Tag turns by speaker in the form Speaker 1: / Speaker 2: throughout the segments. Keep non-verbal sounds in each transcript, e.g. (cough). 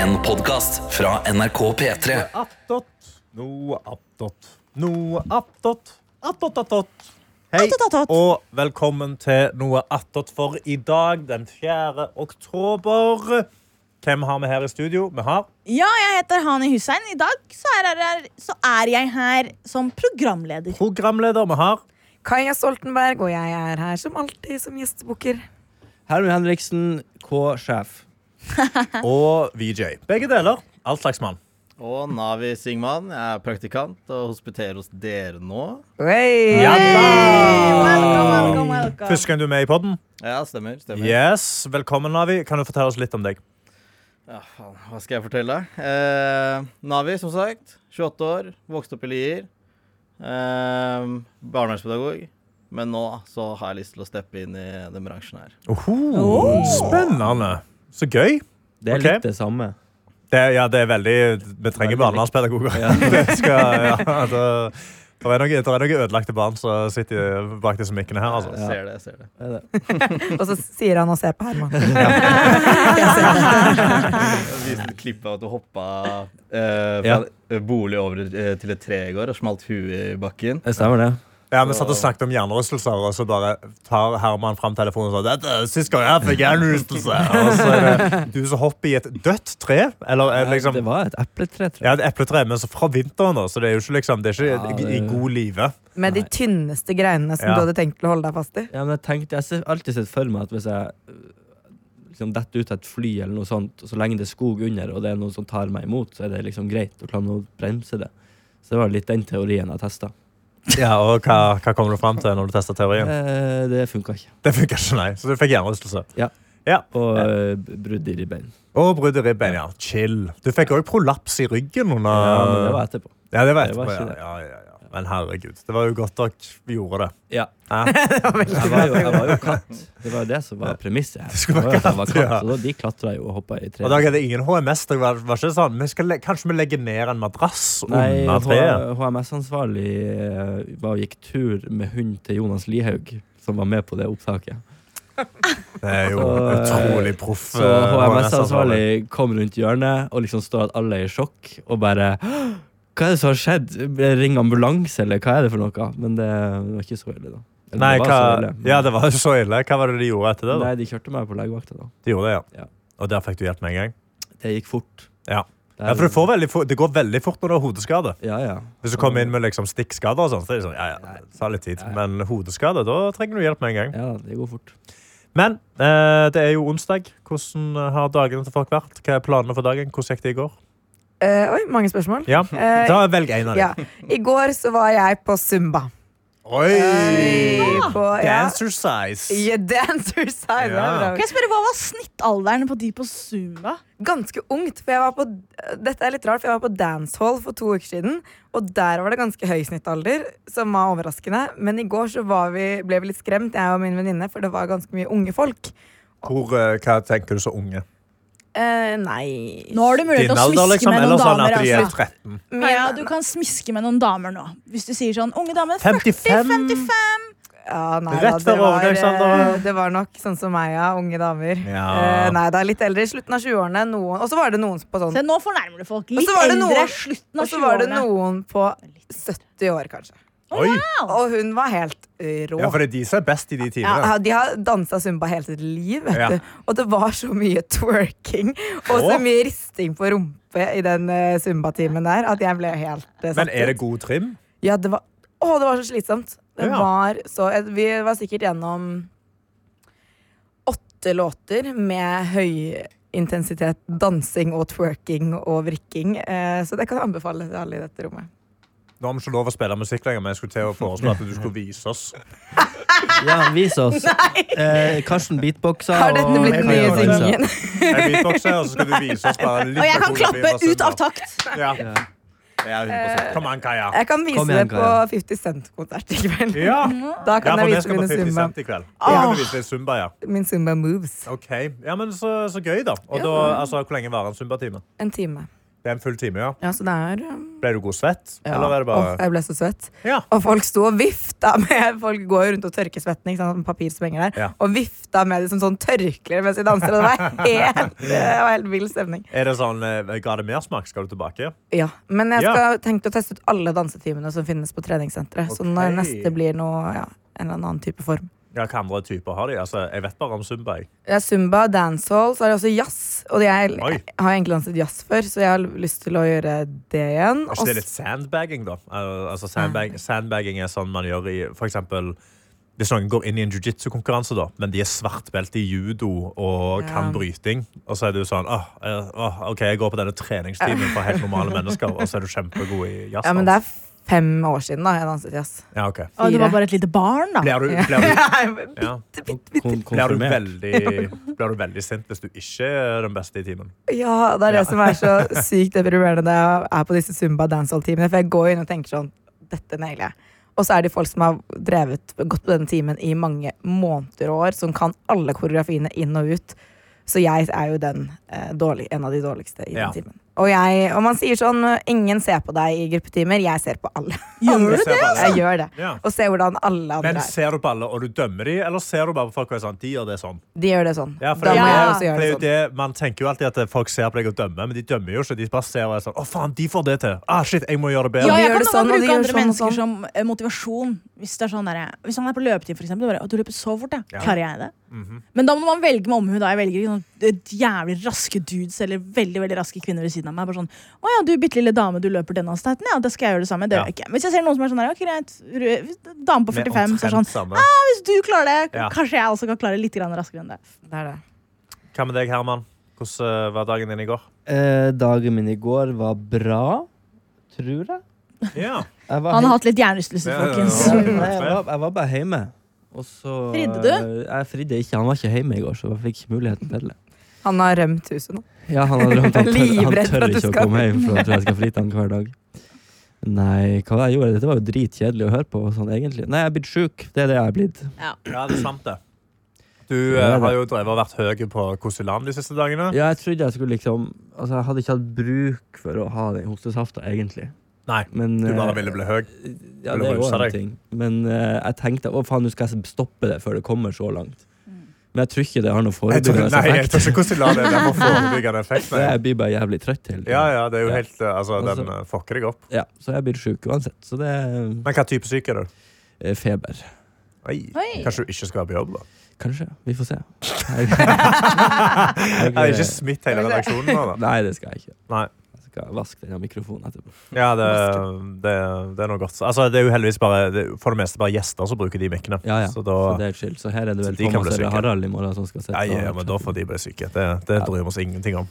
Speaker 1: En podcast fra NRK P3
Speaker 2: Attåt, no attåt, no attåt, attåt, attåt. Hei,
Speaker 3: Attåt, attåt.
Speaker 2: og velkommen til Noe attåt for i dag, den 4. oktober. Hvem har vi her i studio? Vi har
Speaker 3: Ja, jeg heter Hani Hussein. I dag så er, jeg her, så er jeg her som programleder.
Speaker 2: programleder, vi har
Speaker 4: Kaja Stoltenberg, og jeg er her som alltid som gjestebukker.
Speaker 5: Herman Henriksen, K-sjef.
Speaker 2: Og VJ. Begge deler. All slags mann.
Speaker 6: Og Navi Singman, jeg er praktikant og hospiterer hos dere nå.
Speaker 4: Oi!
Speaker 2: Ja
Speaker 3: Welcome, welcome, welcome.
Speaker 2: Første gang du er med i podden?
Speaker 6: Ja, stemmer. stemmer.
Speaker 2: Yes, Velkommen, Navi. Kan du fortelle oss litt om deg?
Speaker 6: Ja, faen, hva skal jeg fortelle deg? Eh, Navi, som sagt. 28 år. Vokste opp i Lier. Eh, Barnevernspedagog. Men nå så har jeg lyst til å steppe inn i den bransjen her.
Speaker 2: Oho,
Speaker 3: Oh.
Speaker 2: Spennende. Så gøy.
Speaker 5: Det er
Speaker 2: Ok.
Speaker 5: litt det samme.
Speaker 2: Det, ja, det er veldig Vi trenger barnevernspedagoger. (laughs) det, skal, ja, altså, det, er noen, det er noen ødelagte barn som sitter bak disse mikkene her. Altså.
Speaker 6: Jeg ser det, jeg ser det.
Speaker 4: Og så sier han å se på Herman.
Speaker 2: (laughs)
Speaker 6: Jeg viste et klipp av at du hoppa eh, fra
Speaker 5: Ja.
Speaker 6: en bolig over eh, til et tre i går og smalt huet i bakken.
Speaker 5: Det stemmer, det.
Speaker 2: Ja, Vi satt og snakket om hjernerystelser, og så bare tar Herman fram telefonen og sånn Dette er sist gang jeg fikk hjernerystelse. Og så er det du som hopper i et dødt tre. Eller eh, liksom
Speaker 5: Det var et epletre, tror jeg.
Speaker 2: ja, et epletre, men så fra vinteren, da, så det er jo ikke, liksom, det er ikke
Speaker 5: Ja,
Speaker 2: i, i
Speaker 5: det-
Speaker 2: god live.
Speaker 4: Med de tynneste greinene som
Speaker 2: Ja.
Speaker 4: du hadde tenkt til å holde deg fast i.
Speaker 5: Ja, men jeg tenkte, jeg har alltid sett for meg at hvis jeg øh, liksom detter ut av et fly, eller noe sånt, og så lenge det er skog under, og det er noen som tar meg imot, så er det liksom greit å klare å bremse det. Så det var litt den teorien jeg testa.
Speaker 2: Ja, og hva, hva kommer du fram til når du tester teorien?
Speaker 5: Eh, det funka ikke.
Speaker 2: Det funker ikke, nei. Så du fikk hjernerystelse.
Speaker 5: Og øh, brudd i ribbein.
Speaker 2: Og brudd i ribben, ja. Chill. Du fikk òg prolaps i ryggen under
Speaker 5: Ja, men det var etterpå.
Speaker 2: Ja, det var
Speaker 5: Det var
Speaker 2: etterpå,
Speaker 5: ikke det.
Speaker 2: ja. Ja, ja, ja. Men herregud, det var jo godt dere gjorde det.
Speaker 5: (laughs) Ja. Ah.
Speaker 2: Hæ?
Speaker 5: Jeg var, jo, jeg var jo katt. Det var jo det som var premisset her.
Speaker 2: skulle være
Speaker 5: Det var jo at jeg
Speaker 2: katt,
Speaker 5: var
Speaker 2: ja.
Speaker 5: Så da, de klatra jo og hoppa i
Speaker 2: Og
Speaker 5: treet.
Speaker 2: dere hadde ingen HMS. Dere var, var ikke sånn, vi skal le Kanskje vi legger ned en madrass
Speaker 5: Nei,
Speaker 2: under treet?
Speaker 5: HMS-ansvarlig eh, var og gikk tur med hund til Jonas Lihaug, som var med på det opptaket.
Speaker 2: Det er jo
Speaker 5: Så, eh,
Speaker 2: utrolig proff.
Speaker 5: Så
Speaker 2: eh,
Speaker 5: HMS-ansvarlig kom rundt hjørnet og liksom står at alle er i sjokk, og bare «Hå! Hva er det som har skjedd? Ring ambulanse, eller hva er det for noe? Men det var ikke så ille, da. Eller,
Speaker 2: Nei,
Speaker 5: det var
Speaker 2: hva,
Speaker 5: så ille, men-
Speaker 2: ja, det var jo så ille. Hva var det de gjorde etter det? da?
Speaker 5: Nei, de kjørte meg på legevakta, da.
Speaker 2: De gjorde det,
Speaker 5: Ja.
Speaker 2: ja. Og der fikk du hjelp med en gang?
Speaker 5: Det gikk fort.
Speaker 2: Ja.
Speaker 5: Der-
Speaker 2: Ja, for det, får veldig fort, det går veldig fort når du har hodeskade.
Speaker 5: Ja, ja.
Speaker 2: Hvis du
Speaker 5: Mm.
Speaker 2: kommer inn med liksom stikkskader, og sånt, så er det sånn, ja, ja, det tar litt tid. Men hodeskade, da trenger du hjelp med en gang.
Speaker 5: Ja, det går
Speaker 4: (laughs)
Speaker 5: fort.
Speaker 2: Men eh, det er jo onsdag. Hvordan har dagene til folk vært? Hva er planene for dagen? Hvordan gikk det i går?
Speaker 4: Eh, oi, mange spørsmål.
Speaker 2: Ja, (laughs)
Speaker 4: Eh,
Speaker 2: Da velg en av dem.
Speaker 4: ja. I går så var jeg på Zumba.
Speaker 3: Eh,
Speaker 4: Eh,
Speaker 2: Oi!
Speaker 4: På, ja.
Speaker 2: Dancer size.
Speaker 4: Ja, dancer side.
Speaker 2: Ja.
Speaker 4: det
Speaker 3: Kan
Speaker 4: er bra.
Speaker 3: jeg spørre, Hva var snittalderen på de på Zumba?
Speaker 4: Ganske ungt. For jeg var på, dette er litt rart, for jeg var på dancehall for to uker siden. Og der var det ganske høy snittalder, som var overraskende. Men i går så var vi, ble vi litt skremt, jeg og min venninne, for det var ganske mye unge folk.
Speaker 2: Hvor, eh, hva tenker du så unge?
Speaker 4: Eh, nei
Speaker 3: Nå har du mulighet
Speaker 2: Din
Speaker 3: til å
Speaker 2: alder,
Speaker 3: smiske
Speaker 2: liksom?
Speaker 3: med
Speaker 2: Eller
Speaker 3: noen
Speaker 2: sånn
Speaker 3: damer.
Speaker 2: at de er
Speaker 3: Altså.
Speaker 2: 13?
Speaker 4: Men-
Speaker 3: Kaja, du kan smiske med noen damer nå. Hvis du sier sånn unge dame
Speaker 2: 55?
Speaker 4: Ja, nei,
Speaker 2: Rett
Speaker 4: da,
Speaker 2: før
Speaker 4: det
Speaker 2: sånn,
Speaker 4: var,
Speaker 2: overgangsalderen.
Speaker 4: eh, Det var nok sånn som meg, ja. Unge damer.
Speaker 2: Ja.
Speaker 4: Eh, nei da, litt eldre. I slutten av 20-årene. noen- Og så var det noen på sånn
Speaker 3: Se, nå fornærmer du folk.
Speaker 4: Og
Speaker 3: Litt
Speaker 4: så var det
Speaker 3: eldre.
Speaker 4: noen-
Speaker 3: Slutten
Speaker 4: Og
Speaker 3: av
Speaker 4: så var det
Speaker 3: 20-årene.
Speaker 4: noen på 70 år, kanskje.
Speaker 2: Oi!
Speaker 3: Ah.
Speaker 4: Og hun var helt eh, rå.
Speaker 2: Ja, for det er de som er best i de timene.
Speaker 4: Ja, de har dansa zumba hele sitt liv, vet
Speaker 2: Ja.
Speaker 4: du. Og det var så mye twerking og så
Speaker 2: Åh.
Speaker 4: mye risting på rumpe i den eh, zumba-timen der at jeg ble helt eh, satt
Speaker 2: Men er det
Speaker 4: ut.
Speaker 2: god trim?
Speaker 4: Ja, det var Å, det var så slitsomt. Det
Speaker 2: Ja.
Speaker 4: var så eh, Vi var sikkert gjennom åtte låter med høyintensitet dansing og twerking og vrikking. eh, Så det kan anbefales til alle i dette rommet.
Speaker 2: Nå har vi ikke lov å spille musikk lenger, men jeg skulle til å foreslå at du skulle vise oss.
Speaker 5: Ja, vis oss. Eh, Karsten beatboxa.
Speaker 4: Har dette
Speaker 5: og-
Speaker 4: blitt den nye
Speaker 2: jeg- jeg-
Speaker 4: singen?
Speaker 2: Jeg beatboxer, og så skal du vise oss bare litt
Speaker 3: Og jeg
Speaker 2: av
Speaker 3: kan
Speaker 2: hvordan vi
Speaker 3: klappe
Speaker 2: var søndag.
Speaker 3: ut av takt.
Speaker 2: Ja. Eh,
Speaker 6: Jeg er 100
Speaker 2: Kom an, Kaja.
Speaker 3: Eh,
Speaker 4: Jeg kan vise
Speaker 5: Kom
Speaker 4: det
Speaker 5: igjen,
Speaker 4: på 50 Cent-konsert i kveld.
Speaker 2: Ja.
Speaker 3: mm-hmm.
Speaker 4: Da
Speaker 2: ja,
Speaker 4: kan
Speaker 2: for
Speaker 4: jeg
Speaker 2: vi
Speaker 4: vise
Speaker 2: skal på
Speaker 4: mine
Speaker 2: 50
Speaker 4: Zumba,
Speaker 2: Cent i kveld. Da kan
Speaker 4: Åh.
Speaker 2: du vise litt Zumba, ja.
Speaker 4: min Zumba moves.
Speaker 2: Ok, ja, men så, så gøy da Og da, altså, Hvor lenge varer en Zumba-time?
Speaker 4: En time.
Speaker 2: Det er en full time, ja
Speaker 4: Ja, så det er um,
Speaker 2: Ble du godsvett?
Speaker 4: Ja.
Speaker 2: Eller er det bare
Speaker 4: Åh, jeg ble så svett.
Speaker 2: Ja.
Speaker 4: Og folk sto og vifta med Folk går jo rundt og tørker svetten. Ikke sant? Papir som henger der.
Speaker 2: Ja.
Speaker 4: Og vifta med det som sånn tørklær mens de danser. Og det
Speaker 2: (laughs)
Speaker 4: var helt, det var helt vill stemning.
Speaker 2: Er det sånn eh, Ga det mersmak? Skal du tilbake?
Speaker 4: Ja, Men jeg
Speaker 2: Ja.
Speaker 4: skal tenke å teste ut alle dansetimene som finnes på treningssenteret. Så når
Speaker 2: Ok.
Speaker 4: neste blir noe ja, en eller annen type form.
Speaker 2: Ja, Hva andre typer har de? Altså, jeg vet bare om Zumba. jeg.
Speaker 4: Det er zumba, dancehall, så er det også jazz. Og jeg
Speaker 2: Oi.
Speaker 4: har egentlig danset jazz før, så jeg har lyst til å gjøre det igjen.
Speaker 2: Er
Speaker 4: Og
Speaker 2: ikke det litt sandbagging, da? Al- Altså, sandbag, sandbagging er sånn man gjør i for eksempel hvis noen går inn i en jiu-jitsu-konkurranse, da, men de er svartbelte i judo og kan
Speaker 4: Ja.
Speaker 2: bryting, og så er du sånn åh, eh, åh, OK, jeg går på denne treningstimen for helt normale mennesker, og så er du kjempegod i jazz. altså.»
Speaker 4: Ja, men det er fem år siden da jeg danset jazz.
Speaker 2: (laughs) ja, ok.
Speaker 3: Å, du
Speaker 4: Fire.
Speaker 3: var bare et lite barn, da.
Speaker 2: Blir du, blir du, ja.
Speaker 5: Kon
Speaker 2: blir, du
Speaker 5: konfirmert.
Speaker 2: veldig, blir du veldig sint hvis du ikke er den beste i timen?
Speaker 4: Ja, det er det som er så sykt deprimerende når jeg er på disse zumba dancehall-timene. For jeg går inn og tenker sånn Dette nailer jeg. Og så er det folk som har drevet gått på denne timen i mange måneder og år, som kan alle koreografiene inn og ut. Så jeg er jo den eh, dårlig, en av de dårligste i
Speaker 2: Ja.
Speaker 4: den timen. Og, jeg, og man sier sånn Ingen ser på deg i gruppetimer. Jeg ser på
Speaker 2: (laughs)
Speaker 4: alle.
Speaker 2: du
Speaker 4: Gjør
Speaker 2: det, altså?
Speaker 4: Jeg gjør det.
Speaker 2: Ja.
Speaker 4: Og ser hvordan alle
Speaker 2: Men
Speaker 4: andre er.
Speaker 2: ser du på alle, og du dømmer de, eller ser du bare på folk og er sånn, de gjør det sånn?
Speaker 4: De gjør det sånn.
Speaker 2: Ja, for
Speaker 4: da
Speaker 2: det,
Speaker 4: må jeg
Speaker 3: Ja.
Speaker 4: også
Speaker 2: for
Speaker 4: gjøre
Speaker 2: det er
Speaker 4: det
Speaker 2: jo
Speaker 4: sånn.
Speaker 2: det Man tenker jo alltid at folk ser på deg og dømmer, men de dømmer jo ikke. De bare ser og er sånn Å, faen, de får det til! Ah, shit, jeg må gjøre det bedre.
Speaker 3: Ja,
Speaker 4: de
Speaker 3: jeg
Speaker 4: gjør
Speaker 3: kan
Speaker 4: det
Speaker 3: noen
Speaker 4: sånn, og
Speaker 3: ganger
Speaker 4: de
Speaker 3: bruke
Speaker 4: gjør
Speaker 3: andre
Speaker 4: sånn og
Speaker 3: mennesker
Speaker 4: sånn.
Speaker 3: som eh, motivasjon. Hvis, det er sånn der, hvis han er på løpetid, for eksempel. og Bare, «Å, du løper så fort, ja. Klarer jeg det?
Speaker 2: Mhm.
Speaker 3: Men da må man velge med omhu. da. Jeg velger ikke sånn eh, jævlig raske dudes eller veldig veldig raske kvinner ved siden av meg. Bare sånn, å ja, du bitte lille dame, du løper den hastigheten. Ja, det skal jeg gjøre det samme. Det
Speaker 2: Ja.
Speaker 3: gjør jeg ikke. Hvis jeg ser noen som er sånn der, ok, greit, ru- dame på
Speaker 2: Med
Speaker 3: 45, så er sånn
Speaker 2: omtrent samme.
Speaker 3: ja, hvis du klarer det,
Speaker 2: Ja.
Speaker 3: kanskje jeg også kan klare litt grann raskere enn det.
Speaker 4: Det er det.
Speaker 2: Hva med deg, Herman? Hvordan eh, var dagen din i går?
Speaker 5: Eh, dagen min i går var bra, tror jeg.
Speaker 2: Ja.
Speaker 5: jeg var
Speaker 3: Han har
Speaker 5: hei-
Speaker 3: hatt litt hjernerystelse,
Speaker 2: Ja, ja, ja.
Speaker 3: folkens.
Speaker 5: Ja, nei, jeg, var, jeg var bare hjemme. Og så eh,
Speaker 3: Fridde du?
Speaker 5: Jeg fridde ikke. Han var ikke hjemme i går, så jeg fikk ikke muligheten til det.
Speaker 4: Han har rømt huset nå.
Speaker 5: Ja, han, hadde rømt, han, tør, han
Speaker 4: Livredd for
Speaker 5: tør
Speaker 4: at du
Speaker 5: ikke å
Speaker 4: skal-
Speaker 5: komme hjem, for han tror jeg skal frite han hver dag. Nei, hva var det jeg gjorde? Dette var jo dritkjedelig å høre på. Sånn, egentlig. Nei, jeg er blitt sjuk. Det er det jeg er blitt.
Speaker 2: ja, det er sant, det. Du
Speaker 5: Ja,
Speaker 2: eh,
Speaker 5: det-
Speaker 2: har jo drevet og vært høy på Kosilan de siste dagene.
Speaker 5: Ja, jeg trodde jeg skulle liksom Altså, jeg hadde ikke hatt bruk for å ha den hostesafta, egentlig.
Speaker 2: Nei,
Speaker 5: Men
Speaker 2: du bare
Speaker 5: eh,
Speaker 2: ville bli høy.
Speaker 5: Ja,
Speaker 2: Eller
Speaker 5: det er jo
Speaker 2: rusa
Speaker 5: en
Speaker 2: deg.
Speaker 5: ting. Men eh, jeg tenkte å faen, nå skal jeg stoppe det før det kommer så langt. Men jeg tror ikke det har noe
Speaker 2: Jeg tror,
Speaker 5: forebyggende
Speaker 2: nei, jeg
Speaker 5: effekt.
Speaker 2: tror ikke Kosilan er
Speaker 5: (laughs)
Speaker 2: der for forebyggende effekt.
Speaker 5: Så
Speaker 2: Nei.
Speaker 5: jeg blir bare jævlig trøtt hele tiden.
Speaker 2: Ja, ja, det er jo
Speaker 5: Ja.
Speaker 2: helt eh, Altså, den
Speaker 5: Altså-
Speaker 2: eh, fucker deg opp.
Speaker 5: Ja, så jeg blir sjuk uansett. Så det er
Speaker 2: Men hva type syk er du?
Speaker 5: eh, feber.
Speaker 2: Oi.
Speaker 3: (laughs) Oi.
Speaker 2: Kanskje du ikke skal være på jobb, da?
Speaker 5: Kanskje. Vi
Speaker 2: (laughs)
Speaker 5: får se.
Speaker 2: Jeg har ikke smitt hele redaksjonen nå, da.
Speaker 5: (laughs) Nei, det skal jeg ikke.
Speaker 2: Nei.
Speaker 5: Jeg skal vaske denne mikrofonen etterpå.
Speaker 2: Ja, det, det, det er noe godt. Altså, det er jo heldigvis bare, det, er for det meste bare gjester som bruker de mikkene.
Speaker 5: Ja, ja.
Speaker 2: Så
Speaker 5: Så,
Speaker 2: da,
Speaker 5: det er chill. Så her er det
Speaker 2: Så
Speaker 5: vel
Speaker 2: de kan bli
Speaker 5: Thomas eller
Speaker 2: syke.
Speaker 5: Harald i morgen som skal sitte
Speaker 2: nei, ja,
Speaker 5: og-
Speaker 2: men da får de bli syke. Det, det bryr vi oss ingenting om.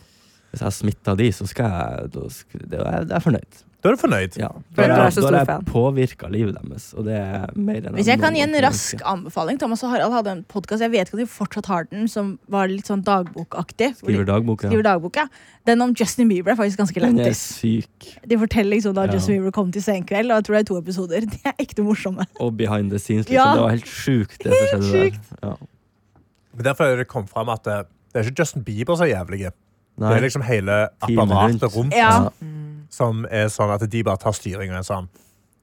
Speaker 5: Hvis jeg smitter de, så skal jeg Da sk- det- jeg jeg er fornøyd.
Speaker 2: Da er du fornøyd.
Speaker 5: Ja.
Speaker 4: For
Speaker 5: Da-
Speaker 4: du er så
Speaker 5: da
Speaker 4: stor
Speaker 5: jeg
Speaker 4: fan.
Speaker 5: påvirka livet deres, og det er mer enn
Speaker 3: Hvis jeg kan gi
Speaker 5: noen
Speaker 3: en
Speaker 5: gang
Speaker 3: rask
Speaker 5: ønsker.
Speaker 3: anbefaling Thomas og Harald hadde en podkast jeg vet ikke om de fortsatt har den, som var litt sånn dagbokaktig. hvor de
Speaker 5: Skriver dagbok, ja.
Speaker 3: Skriver dagbok, ja. Den om Justin Bieber er faktisk ganske
Speaker 5: Den er
Speaker 3: lættis.
Speaker 5: syk.
Speaker 3: De forteller liksom da
Speaker 5: Ja.
Speaker 3: Justin Bieber kom til senkveld, og jeg tror det er to episoder. (laughs) De er ekte morsomme.
Speaker 5: Og behind the scenes, liksom.
Speaker 3: Ja.
Speaker 5: Det var helt sjukt, det som skjedde der. Ja.
Speaker 2: Men derfor er det kommet fram at det, det er ikke Justin Bieber som er jævlig. Det er
Speaker 5: Nei,
Speaker 2: liksom hele
Speaker 5: teamet
Speaker 2: apparatet rundt
Speaker 3: Ja.
Speaker 2: som er sånn at de bare tar styring og er sånn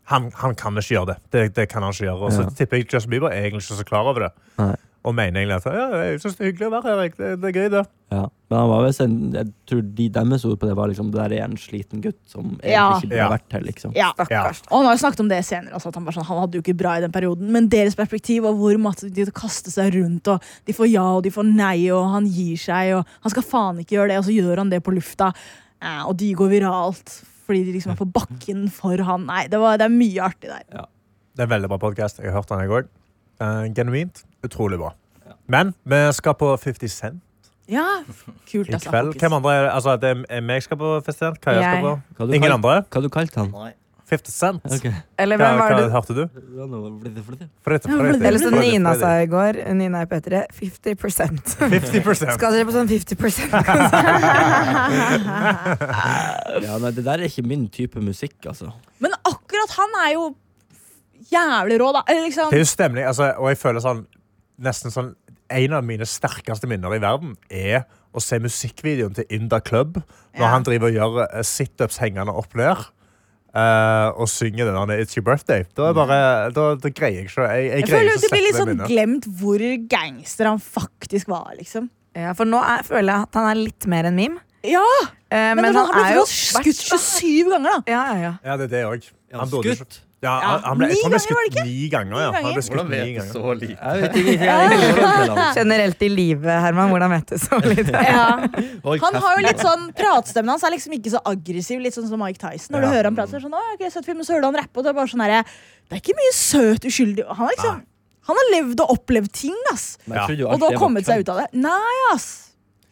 Speaker 2: han, han kan ikke gjøre det. Det, det kan han ikke gjøre. Og så
Speaker 5: Ja.
Speaker 2: tipper jeg Justin Bieber er egentlig ikke så klar over det.
Speaker 5: Nei.
Speaker 2: Og mener egentlig at ja, jeg synes det er hyggelig å være her. jeg. Det, det er gøy, det.
Speaker 5: Ja. Men han var visst en Jeg tror de deres ord på det var liksom Det der er en sliten gutt som egentlig
Speaker 3: Ja.
Speaker 5: ikke burde
Speaker 2: Ja.
Speaker 5: vært her, liksom.
Speaker 3: Ja.
Speaker 4: Stakkars.
Speaker 3: Og han har jo snakket om det senere. Altså, at han, bare sånn, han hadde jo ikke bra i den perioden, men deres perspektiv og hvor masse de kaster seg rundt, og de får ja og de får nei, og han gir seg, og han skal faen ikke gjøre det, og så gjør han det på lufta, eh, og de går viralt fordi de liksom er på bakken for han. Nei, det, var, det er mye artig der.
Speaker 2: Det er en veldig bra podkast. Jeg har hørt den i går. Eh, genuint utrolig bra. Men vi skal på 50 Cent
Speaker 3: Ja, kult,
Speaker 2: i
Speaker 3: altså.
Speaker 2: kveld.
Speaker 3: folkens.
Speaker 2: Hvem andre er det? Altså, det er meg skal på 50 Cent. Hva jeg
Speaker 4: Jeg.
Speaker 2: skal på?
Speaker 5: Hva du
Speaker 2: Ingen
Speaker 5: kal-
Speaker 2: andre?
Speaker 5: Hva du kalte han?
Speaker 2: 50 Cent.
Speaker 5: Ok.
Speaker 4: Eller
Speaker 2: Hva,
Speaker 4: hvem var
Speaker 2: hva
Speaker 4: det?
Speaker 2: hørte du? Fredrik,
Speaker 3: Ja,
Speaker 2: Fredrik,
Speaker 3: det
Speaker 4: Eller som
Speaker 2: Fredrik,
Speaker 4: Nina sa
Speaker 2: Fredrik.
Speaker 4: i går, Nina i P3,
Speaker 2: (laughs)
Speaker 4: 50
Speaker 2: 50
Speaker 4: (laughs) Skal dere på sånn
Speaker 2: (laughs)
Speaker 4: 50
Speaker 5: Ja, nei, det der er ikke min type musikk, altså.
Speaker 3: Men akkurat han er jo jævlig rå, da. Eller liksom
Speaker 2: Det er jo stemning. Altså, og jeg føler sånn Nesten sånn En av mine sterkeste minner i verden er å se musikkvideoen til Inda Club når
Speaker 3: Ja.
Speaker 2: han driver og gjør eh, situps hengende opp ned. eh, og synger den der It's Your Birthday. Da, er bare, da, da greier jeg ikke. Jeg, jeg
Speaker 3: Jeg
Speaker 2: greier
Speaker 3: føler
Speaker 2: ikke
Speaker 3: jo
Speaker 2: å
Speaker 3: det
Speaker 2: slette
Speaker 3: blir litt
Speaker 2: det
Speaker 3: sånn
Speaker 2: minnet.
Speaker 3: glemt hvor gangster han faktisk var, liksom.
Speaker 4: Ja, for nå er, føler jeg at han er litt mer enn meme.
Speaker 3: Ja,
Speaker 4: Eh,
Speaker 3: men, han, har
Speaker 4: er
Speaker 3: blitt
Speaker 4: jo
Speaker 3: skutt
Speaker 4: verst, da.
Speaker 3: 27 ganger, da.
Speaker 4: Ja, ja, ja.
Speaker 2: Ja, det er det òg.
Speaker 5: Ja, skutt.
Speaker 2: Ja, han, han ble,
Speaker 3: Ni
Speaker 2: jeg tror han ble
Speaker 3: ganger,
Speaker 2: skutt ni ganger.
Speaker 3: var det
Speaker 2: Ja. Han ble skutt
Speaker 6: Hvordan
Speaker 2: ni
Speaker 6: vet du
Speaker 2: ganger.
Speaker 6: så lite?
Speaker 5: Jeg vet ikke, jeg er ikke forhold
Speaker 3: (laughs)
Speaker 5: til han.
Speaker 4: Generelt i livet, Herman. Hvordan vet du så lite?
Speaker 5: Hold
Speaker 3: Han har jo
Speaker 5: kjeften,
Speaker 3: litt sånn Pratestemmen hans er liksom ikke så aggressiv, litt sånn som Mike Tyson. Når du
Speaker 2: Ja.
Speaker 3: hører han prate, så er det sånn, «Å, ok, søt fyr, men så hører du han rappe, og det er bare sånn herre Det er ikke mye søt, uskyldig Han, er liksom, han har levd og opplevd ting, ass.
Speaker 5: Men jeg trodde jo
Speaker 3: Og
Speaker 5: alltid
Speaker 3: da
Speaker 5: jeg var
Speaker 3: kommet seg ut av det. Nei, ass.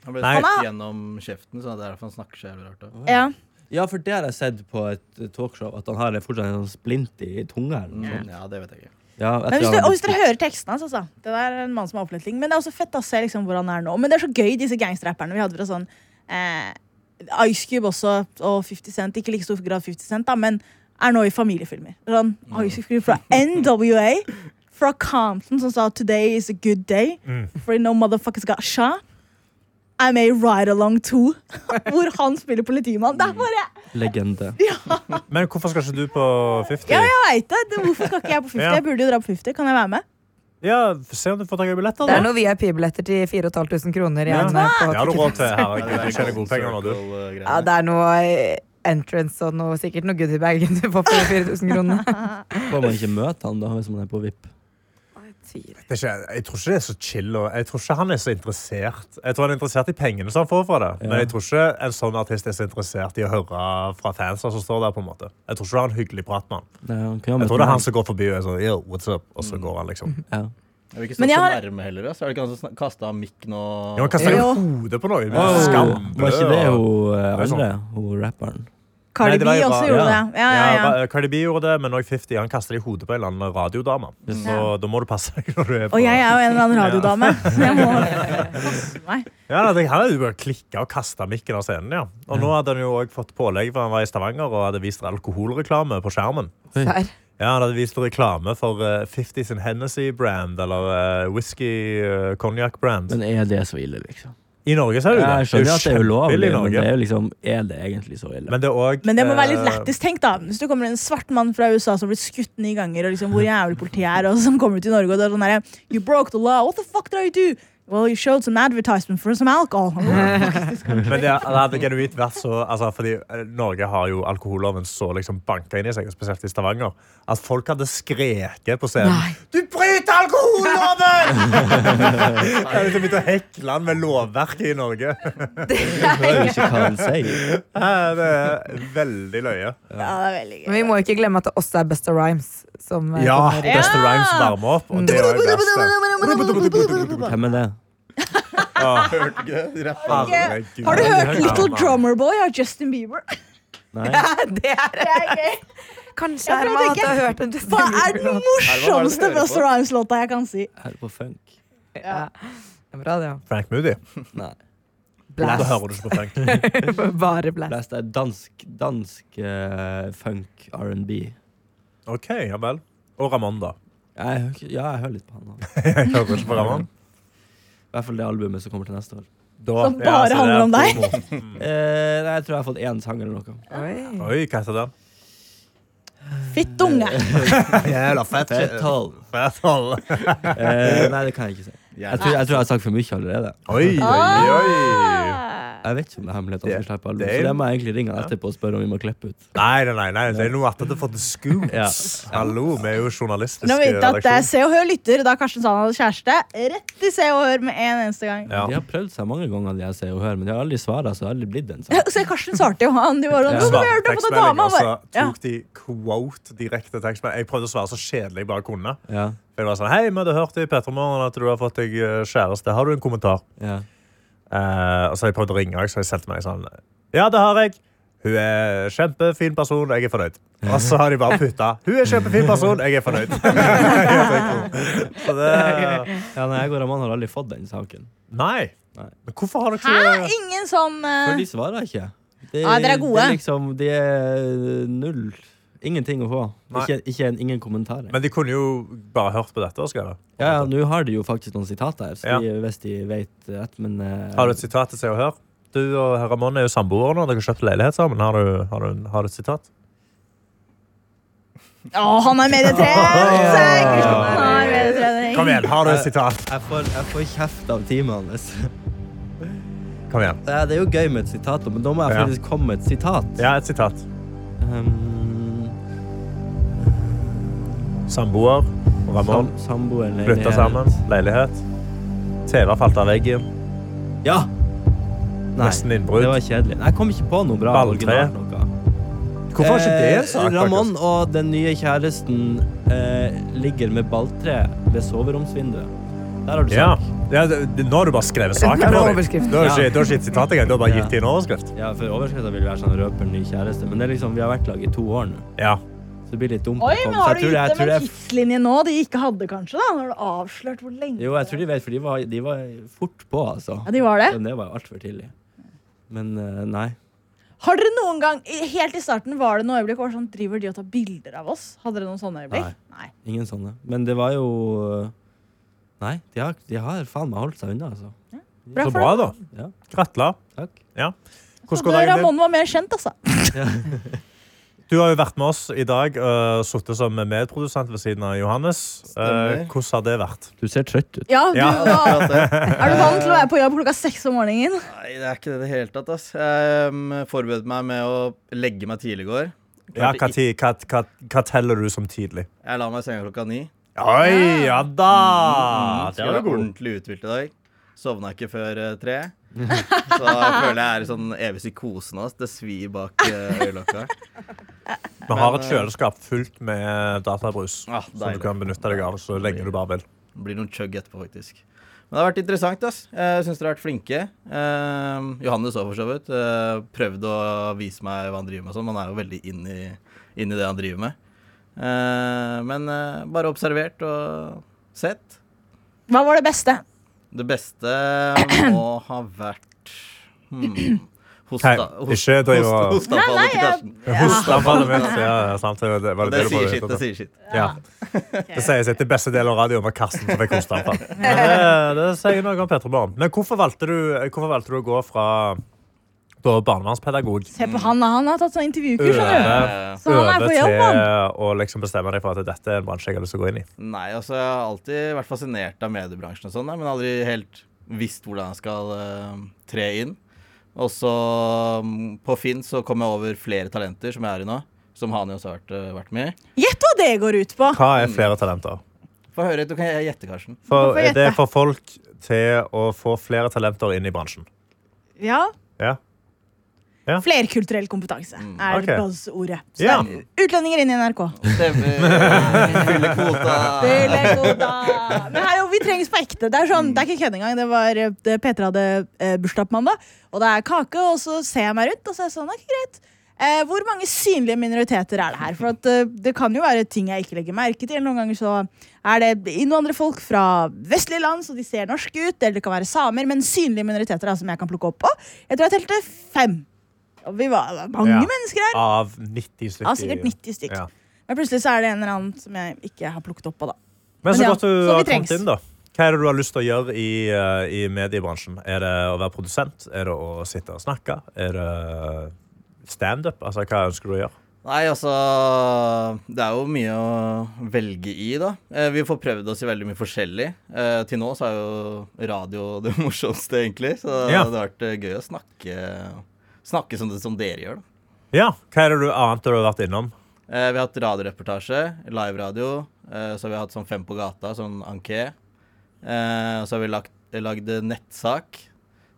Speaker 6: Han ble
Speaker 2: Nei.
Speaker 6: skutt
Speaker 3: Han er-
Speaker 6: gjennom kjeften, så det er derfor han snakker så jævlig rart. da.
Speaker 3: Ja.
Speaker 5: Ja, for det har jeg sett på et eh, talkshow, at han har fortsatt en sånn splint i tunga. eller noe sånt.
Speaker 6: Mm. Ja, det vet jeg ikke.
Speaker 5: Ja, etter
Speaker 3: Men hvis
Speaker 5: han
Speaker 3: du,
Speaker 5: har
Speaker 3: og
Speaker 5: blitt
Speaker 3: hvis dere hører tekstene hans, altså. Det der er en mann som har opplevd ting. Men det er også fett å se liksom, hvor han er nå. Men det er så gøy, disse gangsterrapperne vi hadde fra sånn eh, Ice Cube også, og 50 Cent. Ikke like stor grad 50 Cent, da, men er nå i familiefilmer. Sånn,
Speaker 2: Mm.
Speaker 3: Ice Cube fra NWA, fra Compton, som sa 'Today is a good day',
Speaker 2: Mm.
Speaker 3: for no motherfuckers got shot. I may ride along too. (laughs) Hvor han spiller politimann. Det er bare
Speaker 5: legende. (laughs)
Speaker 2: Men hvorfor skal ikke du på 50?
Speaker 3: Ja, jeg veit det! Det- Hvorfor skal ikke jeg på 50?
Speaker 2: Ja.
Speaker 3: Jeg burde jo dra på 50. Kan jeg være med?
Speaker 2: Ja, Se om du får tak i billetter.
Speaker 4: Det
Speaker 2: da.
Speaker 4: er noen VIP-billetter til 4500 kroner
Speaker 2: Ja.
Speaker 4: igjen. eh, på
Speaker 2: Det har du
Speaker 4: Ticketmaster.
Speaker 2: råd til.
Speaker 6: Ja,
Speaker 2: Herregud,
Speaker 6: det er
Speaker 2: du tjener gode penger nå, du.
Speaker 6: circle-greiene.
Speaker 4: Ja, det er noe eh, entrance og noe, sikkert noe goodiebag du får for 4000
Speaker 2: (laughs)
Speaker 4: kroner.
Speaker 5: Får man ikke møte han da, hvis man er på VIP?
Speaker 2: Det er ikke, jeg tror ikke det er så chill. Og jeg tror ikke han er så interessert Jeg tror han er interessert i pengene som han får fra det. Men
Speaker 5: Ja.
Speaker 2: jeg tror ikke en sånn artist er så interessert i å høre fra fansa som står der. på en måte Jeg tror ikke du har en hyggelig prat med han.
Speaker 5: Nei, han kan jo
Speaker 2: Jeg
Speaker 5: møte
Speaker 2: tror det er
Speaker 5: meg.
Speaker 2: han som går forbi og er sånn Yo, what's up? Og
Speaker 5: Mm.
Speaker 2: så går han, liksom.
Speaker 5: Ja.
Speaker 6: Jeg vil ikke
Speaker 3: Men
Speaker 6: snakke
Speaker 3: jeg
Speaker 6: så
Speaker 3: har-
Speaker 6: nærme heller. ass. Er det ikke han som kasta mikk nå?
Speaker 2: Ja,
Speaker 6: (laughs)
Speaker 2: han kaster jo
Speaker 3: Jo.
Speaker 2: hodet på noen.
Speaker 5: Wow,
Speaker 2: med skambrød
Speaker 5: Var ikke det
Speaker 2: og-
Speaker 5: hun eh,
Speaker 2: Det er sånn.
Speaker 5: andre, hun rapperen?
Speaker 2: Nei,
Speaker 3: Cardi
Speaker 2: det
Speaker 3: B
Speaker 2: var jo
Speaker 3: også
Speaker 2: bra.
Speaker 3: gjorde
Speaker 5: Ja.
Speaker 3: det. Ja, ja, ja.
Speaker 2: Ra- Cardi B gjorde det, men òg 50. Han kastet det i hodet på en eller annen radiodame. Så da må du passe deg. når du er på
Speaker 3: Og jeg er jo en eller annen radiodame, så jeg må passe meg.
Speaker 2: Ja, nei, det- Han hadde jo bare klikka og kasta mikken av scenen. ja. Og nå hadde han jo også fått pålegg for han var i Stavanger og hadde vist alkoholreklame på skjermen.
Speaker 4: Der.
Speaker 2: Ja, Han hadde vist reklame for eh, 50 sin Hennessy-brand eller eh, whisky eh, cognac-brand.
Speaker 5: Men er det så ille, liksom?
Speaker 2: I Norge så er det jo det.
Speaker 5: Jeg skjønner at det er ulovlig,
Speaker 2: kjempebillig i
Speaker 5: men det
Speaker 2: Norge.
Speaker 5: er jo liksom Er det egentlig så ille?
Speaker 2: Men det er også,
Speaker 3: Men det må være litt
Speaker 2: eh,
Speaker 3: lættis tenkt, da. Hvis du kommer en svart mann fra USA som har blitt skutt ni ganger, og liksom hvor jævlig politiet er, og som kommer til Norge og det er sånn derre You broke the law, what the fuck did I do? Well, you showed some advertisement for some alcohol.
Speaker 2: Men det, det hadde genuint vært så altså, Fordi eh, Norge har jo alkoholloven så liksom banka inn i seg, spesielt i Stavanger, at folk hadde skreket på scenen
Speaker 4: Nei.
Speaker 2: Du bryter alkoholloven! Jeg hadde liksom begynt å hekle han med lovverket i Norge. (laughs)
Speaker 5: det er jo ikke hva han sier.
Speaker 2: Eh, Det er veldig løye.
Speaker 3: Ja, det er veldig
Speaker 4: Men vi
Speaker 3: gøy.
Speaker 4: må ikke glemme at det også er Busta Rhymes. Som, eh,
Speaker 2: Ja,
Speaker 4: kommer.
Speaker 2: Buster Rhymes varmer opp, og det var det beste.
Speaker 5: Hvem er det?
Speaker 6: Hørte ikke det? Rappa.
Speaker 2: Herregud.
Speaker 3: Har du hørt Little Drummer Boy av Justin Bieber?
Speaker 5: Nei?
Speaker 4: (laughs) det er
Speaker 3: Det er gøy.
Speaker 4: Kanskje
Speaker 3: Jeg prøvde
Speaker 4: Herman at du
Speaker 3: ikke.
Speaker 4: har hørt en Justin
Speaker 3: Hva er den
Speaker 4: Bieber-låt.
Speaker 3: morsomste
Speaker 6: hører på?
Speaker 3: Buster Rhymes-låta jeg kan si?
Speaker 5: Er det på funk?
Speaker 4: Ja. Det er Bra, det, ja.
Speaker 2: Frank Moody.
Speaker 5: Nei.
Speaker 2: Da
Speaker 4: Blast.
Speaker 2: hører du ikke på Frank.
Speaker 4: (laughs)
Speaker 3: (laughs)
Speaker 4: Bare blast.
Speaker 5: Blast er dansk, dansk eh, funk R&B.
Speaker 2: OK, ja vel. Og Ramón, da.
Speaker 5: Jeg hører ikke- Ja, jeg hører litt på han. da.
Speaker 2: Jeg hører ikke på Ramón.
Speaker 5: I hvert fall det albumet som kommer til neste år.
Speaker 2: Da-
Speaker 3: Som bare
Speaker 2: ja, så det er
Speaker 3: handler om deg.
Speaker 2: promo.
Speaker 3: Mm.
Speaker 5: Eh, nei, jeg tror jeg har fått én sang eller noe.
Speaker 4: Oi.
Speaker 2: Oi, hva heter den?
Speaker 3: Fittunge.
Speaker 2: Jævla fett.
Speaker 5: Fetal.
Speaker 2: Fetal.
Speaker 5: Eh, nei, det kan jeg ikke si. Jeg tror, jeg tror jeg har sagt for mye allerede.
Speaker 2: Oi, oi, oi.
Speaker 3: Ah.
Speaker 5: Jeg vet ikke om det er hemmelighet at vi
Speaker 2: Det-
Speaker 5: slipper album,
Speaker 2: det er
Speaker 5: så
Speaker 2: jo-
Speaker 5: det må jeg egentlig ringe han etterpå og spørre om vi må klippe ut.
Speaker 2: Nei, nei, nei, nei, det er noe at det får til
Speaker 5: Ja.
Speaker 2: scoops. Hallo, vi er jo eh, journalistiske
Speaker 3: Nå vet jeg at det er Se og Hør lytter da Karsten Sand hadde kjæreste. Rett i Se og Hør med en eneste gang.
Speaker 2: Ja.
Speaker 5: De har prøvd seg mange ganger, de jeg ser og hører, men de har aldri svara, så det har aldri blitt en
Speaker 3: Ja,
Speaker 5: sak.
Speaker 3: (laughs) Se, Karsten svarte jo han. De var sånn,
Speaker 5: Ja.
Speaker 3: «Hvorfor har du hørt på den
Speaker 2: Tekstmelding,
Speaker 3: dama?»
Speaker 2: og så
Speaker 3: Han bare,
Speaker 2: tok de quote direkte tekstmelding. Jeg prøvde å svare så kjedelig jeg bare kunne.
Speaker 5: Ja,
Speaker 2: Jeg var sånn, hei, vi hadde hørt i Petremorgen at du har fått deg eh, kjæreste. Har du en kommentar?
Speaker 5: ja.
Speaker 2: Eh, og så har jeg prøvd å ringe, så har jeg selgt meg sånn Ja, det har jeg. Hun er kjempefin person, jeg er fornøyd. Og så har de bare putta. Hun er kjempefin person, jeg er fornøyd. (laughs) så det
Speaker 5: ja nei, jeg og Raman har aldri fått den saken.
Speaker 2: Nei.
Speaker 5: Nei.
Speaker 2: Men hvorfor har
Speaker 3: ja.
Speaker 2: dere
Speaker 3: Hæ?
Speaker 2: ikke
Speaker 3: Ingen sånn
Speaker 5: For
Speaker 3: eh,
Speaker 5: de svarer ikke. De,
Speaker 3: Ja, dere er gode.
Speaker 5: Det er liksom, de er eh, null. Ingenting å få.
Speaker 2: Nei.
Speaker 5: Ikke, ikke en, ingen kommentar.
Speaker 2: Men de kunne jo bare hørt på dette og skrevet.
Speaker 5: Ja, ja, nå har de jo faktisk noen sitater her, så
Speaker 2: Ja.
Speaker 5: de, hvis de vet rett, men eh,
Speaker 2: Har du et sitat til Se og Hør? Du og Ramón er jo samboere nå. Dere har kjøpt leilighet sammen. Har du, har du, har du et sitat?
Speaker 3: Å, han er medietrent!
Speaker 2: Åh.
Speaker 3: Han er medietrening.
Speaker 2: Kom igjen, har du et sitat?
Speaker 5: Jeg får, jeg får kjeft av teamet hans. (laughs)
Speaker 2: Kom igjen.
Speaker 5: Ja, Det er jo gøy med et sitat, men da må jeg
Speaker 2: Ja.
Speaker 5: faktisk komme med et sitat.
Speaker 2: Ja, et sitat.
Speaker 5: Um,
Speaker 2: Samboer. Ramón.
Speaker 5: sam samboeren
Speaker 2: Flytta
Speaker 5: leilighet.
Speaker 2: sammen. Leilighet. TV falt av veggen.
Speaker 5: Ja! Nei,
Speaker 2: Nesten innbrudd.
Speaker 5: Det var kjedelig. Nei, Jeg kom ikke på noe bra.
Speaker 2: Balltre.
Speaker 5: originalt noe.
Speaker 2: Hvorfor er ikke det en
Speaker 5: Eh,
Speaker 2: sak?
Speaker 5: Ramón
Speaker 2: faktisk?
Speaker 5: og den nye kjæresten eh, ligger med balltre ved soveromsvinduet. Der har du
Speaker 2: Ja.
Speaker 5: sak.
Speaker 2: ja det- det- nå har du bare skrevet saken.
Speaker 4: Det er
Speaker 2: for deg.
Speaker 4: overskriften.
Speaker 2: Du har ikke, du har ikke et sitat engang. Du har bare
Speaker 5: Ja.
Speaker 2: gitt det en overskrift.
Speaker 5: Ja, for overskriften vil være sånn røper ny kjæreste, men det er liksom, vi har vært lag i to år nå.
Speaker 2: Ja.
Speaker 5: Så det blir litt dumt. å
Speaker 3: Oi, men
Speaker 5: komme- så
Speaker 3: har
Speaker 5: jeg
Speaker 3: du
Speaker 5: tror
Speaker 3: gitt
Speaker 5: det- jeg
Speaker 3: dem
Speaker 5: tror
Speaker 3: en
Speaker 5: det er-
Speaker 3: tidslinje nå de ikke hadde, kanskje? da? Nå har du avslørt hvor lenge
Speaker 5: Jo, jeg tror de vet, for de var, de var fort på, altså.
Speaker 3: Ja, de var det.
Speaker 5: Men det var altfor tidlig. Men eh, nei.
Speaker 3: Har dere noen gang, i- Helt i starten var det noe øyeblikk hvor sånn, driver de og tar bilder av oss? Hadde dere noen sånne øyeblikk? Nei.
Speaker 5: Ingen sånne. Men det var jo eh, Nei, de har, de har faen meg holdt seg unna, altså.
Speaker 3: Bra
Speaker 2: Så
Speaker 3: for
Speaker 2: bra,
Speaker 3: deg.
Speaker 2: da.
Speaker 5: Ja,
Speaker 2: Gratulerer.
Speaker 5: takk.
Speaker 2: Ja. Hvordan går
Speaker 3: Hadde
Speaker 2: dagen din?
Speaker 3: Ramón var mer kjent, altså.
Speaker 2: Du har jo vært med oss i dag og sittet som medprodusent ved siden av Johannes. Eh,
Speaker 6: Stemmer.
Speaker 2: hvordan har det vært?
Speaker 5: Du ser trøtt ut.
Speaker 3: Ja, du,
Speaker 2: Ja.
Speaker 3: var-
Speaker 6: Akkurat det.
Speaker 3: Er du vant til å være på jobb klokka seks om morgenen?
Speaker 6: (laughs) Nei, det er ikke det i det hele tatt. Ass. Jeg um, forberedte meg med å legge meg tidlig i går.
Speaker 2: Ja,
Speaker 6: Klarte
Speaker 2: hva,
Speaker 6: ikke-
Speaker 2: ti- hva, hva, hva teller du som tidlig?
Speaker 6: Jeg la meg i senga klokka ni. Mm.
Speaker 2: Oi, ja da! Ah, Det
Speaker 6: Skulle
Speaker 2: var
Speaker 6: være
Speaker 2: god.
Speaker 6: ordentlig uthvilt i dag. Sovna ikke før eh, tre.
Speaker 2: (laughs)
Speaker 6: Så jeg føler jeg er i sånn evig psykose nå. ass. Det svir bak eh, øyelokka.
Speaker 2: Vi har
Speaker 6: Men,
Speaker 2: et
Speaker 6: eh,
Speaker 2: kjøleskap fullt med databrus
Speaker 6: Ah,
Speaker 2: som du
Speaker 6: deilig.
Speaker 2: kan benytte deg av så lenge du bare vil.
Speaker 6: Det blir noen chug etterpå, faktisk. Men det har vært interessant. ass. Jeg syns dere har vært flinke. Eh, Johannes òg, for så vidt. Eh, prøvd å vise meg hva han driver med. og Sånn. Man er jo veldig inn i, inn i det han driver med. Eh, men eh, bare observert og sett.
Speaker 3: Hva var det beste?
Speaker 6: Det beste må ha vært hmm,
Speaker 2: Hei,
Speaker 6: Hosta. host-
Speaker 2: ikke driv
Speaker 6: host-
Speaker 2: og
Speaker 6: Hosteanfallet til Karsten.
Speaker 2: Hosteanfallet mitt. Ja, ja, sant. Det var- var det
Speaker 6: Og Det
Speaker 2: det du
Speaker 6: sier
Speaker 2: prøvde
Speaker 6: sitt.
Speaker 2: å
Speaker 6: Det
Speaker 2: si.
Speaker 6: sier sitt.
Speaker 2: Ja. Det sier sitt. Det beste delen av radioen var Karsten som fikk hosteanfall. Men Det, det sier noe om Petter Barn. Men hvorfor valgte du, hvorfor valgte du å gå fra da barnevernspedagog
Speaker 3: Se på han, da. han har tatt sånn intervjukurs. skjønner du.
Speaker 2: over,
Speaker 3: Så han er
Speaker 2: over
Speaker 3: på
Speaker 2: til
Speaker 3: jobb, han.
Speaker 2: å liksom bestemme deg for at dette er en bransje jeg har lyst til å gå inn i?
Speaker 6: Nei, altså jeg har alltid vært fascinert av mediebransjen og sånn, da, men aldri helt visst hvordan jeg skal eh, tre inn. Og så mm, på Finn så kom jeg over flere talenter som jeg er i nå, som Hani også har vært, eh, vært med i.
Speaker 3: Gjett hva det går ut på!
Speaker 2: Hva er flere talenter?
Speaker 6: Få høre, du kan gjette, Karsten.
Speaker 2: For,
Speaker 3: Mm. Hvorfor gjette?
Speaker 2: det er for folk til å få flere talenter inn i bransjen.
Speaker 3: Ja,
Speaker 2: Ja.
Speaker 3: Flerkulturell kompetanse er
Speaker 2: Ok.
Speaker 3: buzzordet. Så
Speaker 2: Ja.
Speaker 3: det er Utlendinger inn i NRK.
Speaker 6: (laughs) Stemmer. Fylle kvota.
Speaker 3: Veldig god dag. Men hallo, vi trengs på ekte. Det er, sånn, det er ikke kødd engang. Det var, eh, det, Petra hadde eh, bursdag på mandag, og det er kake, og så ser jeg meg rundt, og så er jeg sånn, ok, greit. Eh, hvor mange synlige minoriteter er det her? For at, eh, det kan jo være ting jeg ikke legger merke til. Noen ganger så er det innvandrerfolk fra vestlige land, så de ser norske ut, eller det kan være samer, men synlige minoriteter da, som jeg kan plukke opp på. Jeg tror jeg telte fem. Og vi var det var
Speaker 2: Ja.
Speaker 3: mange mennesker her.
Speaker 2: Av 90 stykker.
Speaker 3: Ja, sikkert 90 stykk.
Speaker 2: Ja.
Speaker 3: Men plutselig så er det en eller annen som jeg ikke har plukket opp på, da.
Speaker 2: Men
Speaker 3: Men
Speaker 2: så
Speaker 3: ja,
Speaker 2: godt du
Speaker 3: så vi
Speaker 2: har
Speaker 3: trengs.
Speaker 2: kommet inn, da. Hva er det du har lyst til å gjøre i, eh, i mediebransjen? Er det å være produsent? Er det å sitte og snakke? Er det standup? Altså, hva ønsker du å gjøre?
Speaker 6: Nei, altså Det er jo mye å velge i, da. Eh, Vi får prøvd oss i veldig mye forskjellig. Eh, til nå så er jo radio (laughs) det morsomste, egentlig. Så
Speaker 2: Ja.
Speaker 6: det har vært eh, gøy å snakke, snakke som, det, som dere gjør, da.
Speaker 2: Ja, Hva er det du annet du har vært innom?
Speaker 6: Eh, vi har hatt radioreportasje, live-radio. Eh, så har vi hatt sånn Fem på gata, sånn anké. Eh, så har vi lagt, lagd netsak.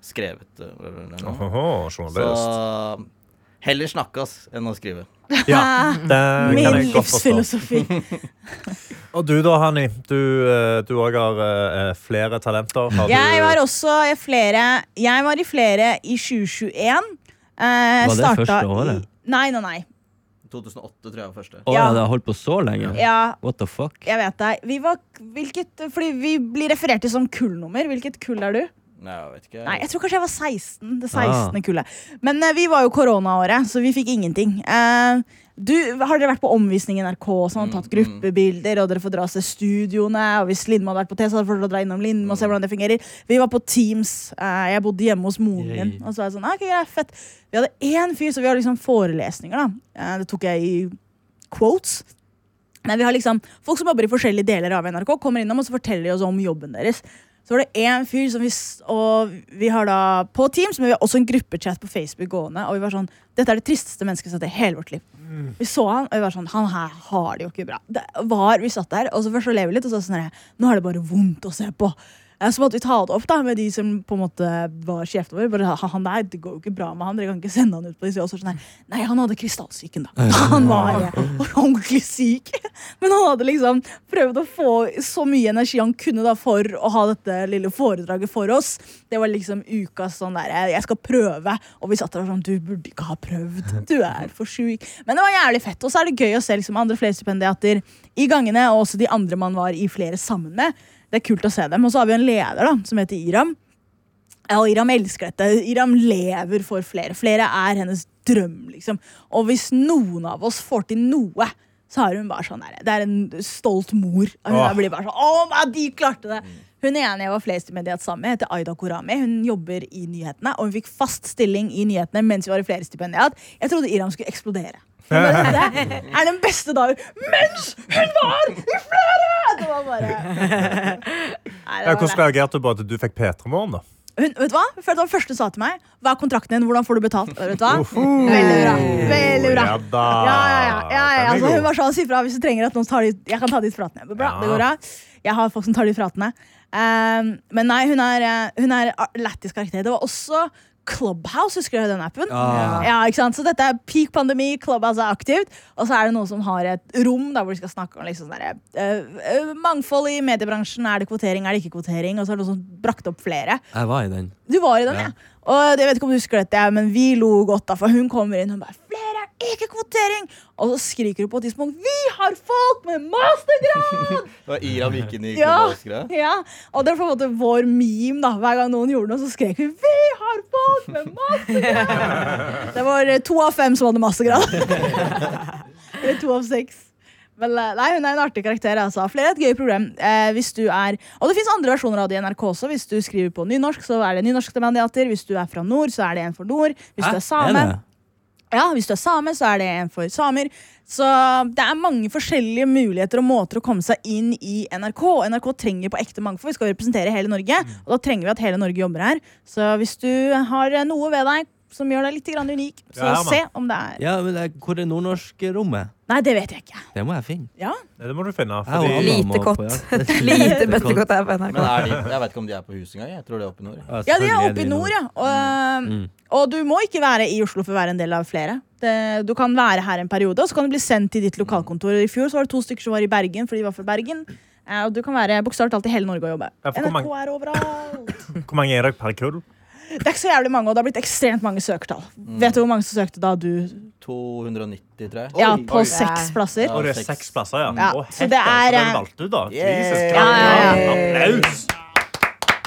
Speaker 6: Skrevet. eh, eller noe.
Speaker 2: Ohoho, journalist.
Speaker 6: Så heller snakke oss enn å skrive.
Speaker 2: Ja,
Speaker 3: (laughs)
Speaker 2: det Eh, kan
Speaker 3: Min
Speaker 2: jeg godt forstå.
Speaker 3: livsfilosofi.
Speaker 2: Og du da, Hanni? Du eh, du òg har eh, flere talenter. Har
Speaker 3: Jeg var
Speaker 2: du,
Speaker 3: også i flere Jeg var i flere i 2021. Eh, var
Speaker 5: det første året?
Speaker 3: I, nei, nei, nei.
Speaker 6: 2008 tror jeg var første.
Speaker 5: Å ja,
Speaker 3: Ja.
Speaker 5: det har holdt på så lenge.
Speaker 3: Ja,
Speaker 5: What the fuck?
Speaker 3: jeg vet det. Vi var hvilket, Fordi vi blir referert til som kullnummer. Hvilket kull er du?
Speaker 6: Nei, jeg vet ikke.
Speaker 3: Nei, jeg tror kanskje jeg var 16. Det 16. kullet. Men eh, vi var jo koronaåret, så vi fikk ingenting. Eh, du, har dere vært på omvisning i NRK og sånn, tatt gruppebilder, og dere får dra og se studioene? Og hvis Lindmo hadde vært på T, så hadde dere fått dra innom Lindmo og se hvordan det fungerer. Vi var på Teams. eh, jeg bodde hjemme hos moren min.
Speaker 5: Yay.
Speaker 3: Og så var jeg sånn, ok, greit, fett. Vi hadde én fyr, så vi hadde liksom forelesninger, da. Eh, det tok jeg i quotes. Nei, vi har liksom Folk som jobber i forskjellige deler av NRK, kommer innom og så forteller de oss om jobben deres. Så var det én fyr som vi s- Og vi har da på Teams, men vi har også en gruppechat på Facebook gående. Og vi var sånn Dette er det tristeste mennesket vi har sett i hele vårt liv. Vi så han, og vi var sånn Han her har det jo ikke bra. Det var, vi satt der, og så først så lever vi litt, og så sånn her, Nå er det bare vondt å se på. Eh, Så måtte vi ta det opp da med de som på en måte var sjefene våre. Bare, "Han- han der, Det går jo ikke bra med han, dere kan ikke sende han ut på disse. Og så sånn her, Nei, han hadde krystallsyken, da. (laughs) Han var eh, ordentlig syk. Men han hadde liksom prøvd å få så mye energi han kunne da for å ha dette lille foredraget for oss. Det var liksom ukas sånn derre 'jeg skal prøve', og vi satt der og sånn 'du burde ikke ha prøvd', du er for sjuk. Men det var jævlig fett. Og så er det gøy å se liksom andre flerstipendiater i gangene, og også de andre man var i flere sammen med. Det er kult å se dem. Og så har vi en leder da, som heter Iram. Ja, og Iram elsker dette. Iram lever for flere. Flere er hennes drøm, liksom. Og hvis noen av oss får til noe, så har hun bare sånn der. Det er en stolt mor. Og hun
Speaker 2: Åh.
Speaker 3: blir bare sånn Å, nei, de klarte det! Hun ene jeg var flest i mediet sammen med, heter Aida Korami. Hun jobber i nyhetene, og hun fikk fast stilling i nyhetene mens vi var i flere stipendiat. Jeg trodde Iram skulle
Speaker 2: (laughs)
Speaker 3: eksplodere. Hun bare, Dette er den beste dagen mens hun var i flere! Det var
Speaker 2: (laughs)
Speaker 3: bare Nei, det
Speaker 2: Ja,
Speaker 3: var
Speaker 2: hvordan reagerte du på at du fikk P3-morgen, da?
Speaker 3: hun, vet du hva? Før det var første hun sa til meg, hva er kontrakten din, hvordan får du betalt? Vet du hva? Veldig bra. Veldig bra.
Speaker 2: Ja da.
Speaker 3: Ja, ja, ja. ja,
Speaker 2: Den
Speaker 3: ja,
Speaker 2: er
Speaker 3: Altså,
Speaker 2: god.
Speaker 3: hun var sånn, si fra hvis du trenger at noen tar de, jeg kan ta de fratene. Bra,
Speaker 2: Ja.
Speaker 3: det går bra. Jeg har folk som tar de fratene. Ehm, men nei, hun er, eh, hun er a- lættis karakter. Det var også Clubhouse, husker du den appen?
Speaker 5: Ja.
Speaker 3: ikke sant? Så dette er peak pandemi, Clubhouse er aktivt. Og så er det noen som har et rom der hvor de skal snakke om liksom sånn derre, eh, eh, mangfold i mediebransjen. Er det kvotering, er det ikke kvotering? Og så er det noen som brakte opp flere.
Speaker 5: Jeg var i den.
Speaker 3: Du var i den, ja. Og det- jeg vet ikke om du husker dette, jeg, men vi lo godt da, for hun kommer inn og bare 'Flere er ikke kvotering!' Og så skriker hun på et tidspunkt 'Vi har folk med mastergrad!'
Speaker 6: Det var Iram gikk inn i
Speaker 3: Ja.
Speaker 6: Clubhouse-greia.
Speaker 3: ja, Og det er på en måte vår meme. da Hver gang noen gjorde noe, så skrek vi 'Vi har folk med mastergrad!' Det var eh, to av fem som hadde mastergrad. Eller to av seks. Men, eh, nei, Hun er en artig karakter. altså Flere er et gøy problem. Eh, hvis du er, og det fins andre versjoner av det i NRK også. Hvis du skriver på nynorsk, så er det nynorskte mandiater. Hvis du er fra nord, så er det en for nord. Hvis du er same,
Speaker 5: Er det?
Speaker 3: ja, hvis du er same, så er det en for samer. Så det er mange forskjellige muligheter og måter å komme seg inn i NRK. Og NRK trenger på ekte mangfold. Vi skal jo representere hele Norge,
Speaker 2: Mm.
Speaker 3: og da trenger vi at hele Norge jobber her. Så hvis du har eh, noe ved deg som gjør deg litt grann unik, så
Speaker 2: Ja, man.
Speaker 3: se om det er
Speaker 5: Ja, men det, er- hvor er nordnorskrommet?
Speaker 3: Nei, det vet jeg ikke.
Speaker 5: Det må jeg finne.
Speaker 3: Ja,
Speaker 2: Det må du finne.
Speaker 5: Jeg og Anna
Speaker 2: Fordi,
Speaker 4: Lite
Speaker 5: må på
Speaker 4: godt. (laughs)
Speaker 5: jakt.
Speaker 4: Lite bøttekott her på
Speaker 6: Men
Speaker 4: NRK.
Speaker 6: er de, jeg vet ikke om de er på huset engang. Jeg tror det er oppe i nord. jeg.
Speaker 3: ja de
Speaker 5: selvfølgelig
Speaker 3: er oppe i
Speaker 5: de
Speaker 3: nord, ja. Og, eh,
Speaker 5: Mm.
Speaker 3: og du må ikke være i Oslo for å være en del av flere. Det, du kan være her en periode, og så kan du bli sendt til ditt lokalkontor. I fjor så var det to stykker som var i Bergen, fordi de var fra Bergen. Eh, Og du kan være bokstavelig talt i hele Norge og jobbe.
Speaker 2: Ja, for hvor
Speaker 3: NRK
Speaker 2: mange-
Speaker 3: er overalt.
Speaker 2: hvor mange er dere per kull?
Speaker 3: Det er ikke så jævlig mange, og det har blitt ekstremt mange søkertall. Vet du hvor mange som søkte da du
Speaker 6: 290, tror jeg.
Speaker 3: Ja,
Speaker 6: Oi,
Speaker 3: på
Speaker 6: oi.
Speaker 3: seks plasser.
Speaker 2: Og det er seks plasser, ja.
Speaker 3: Mm. Ja,
Speaker 2: Å,
Speaker 3: så
Speaker 2: hette,
Speaker 3: det er,
Speaker 2: hvem
Speaker 3: eh,
Speaker 2: valgte du, da?
Speaker 6: Yeah.
Speaker 2: Jesus Christ.
Speaker 3: Ja, ja,
Speaker 2: ja. Applaus!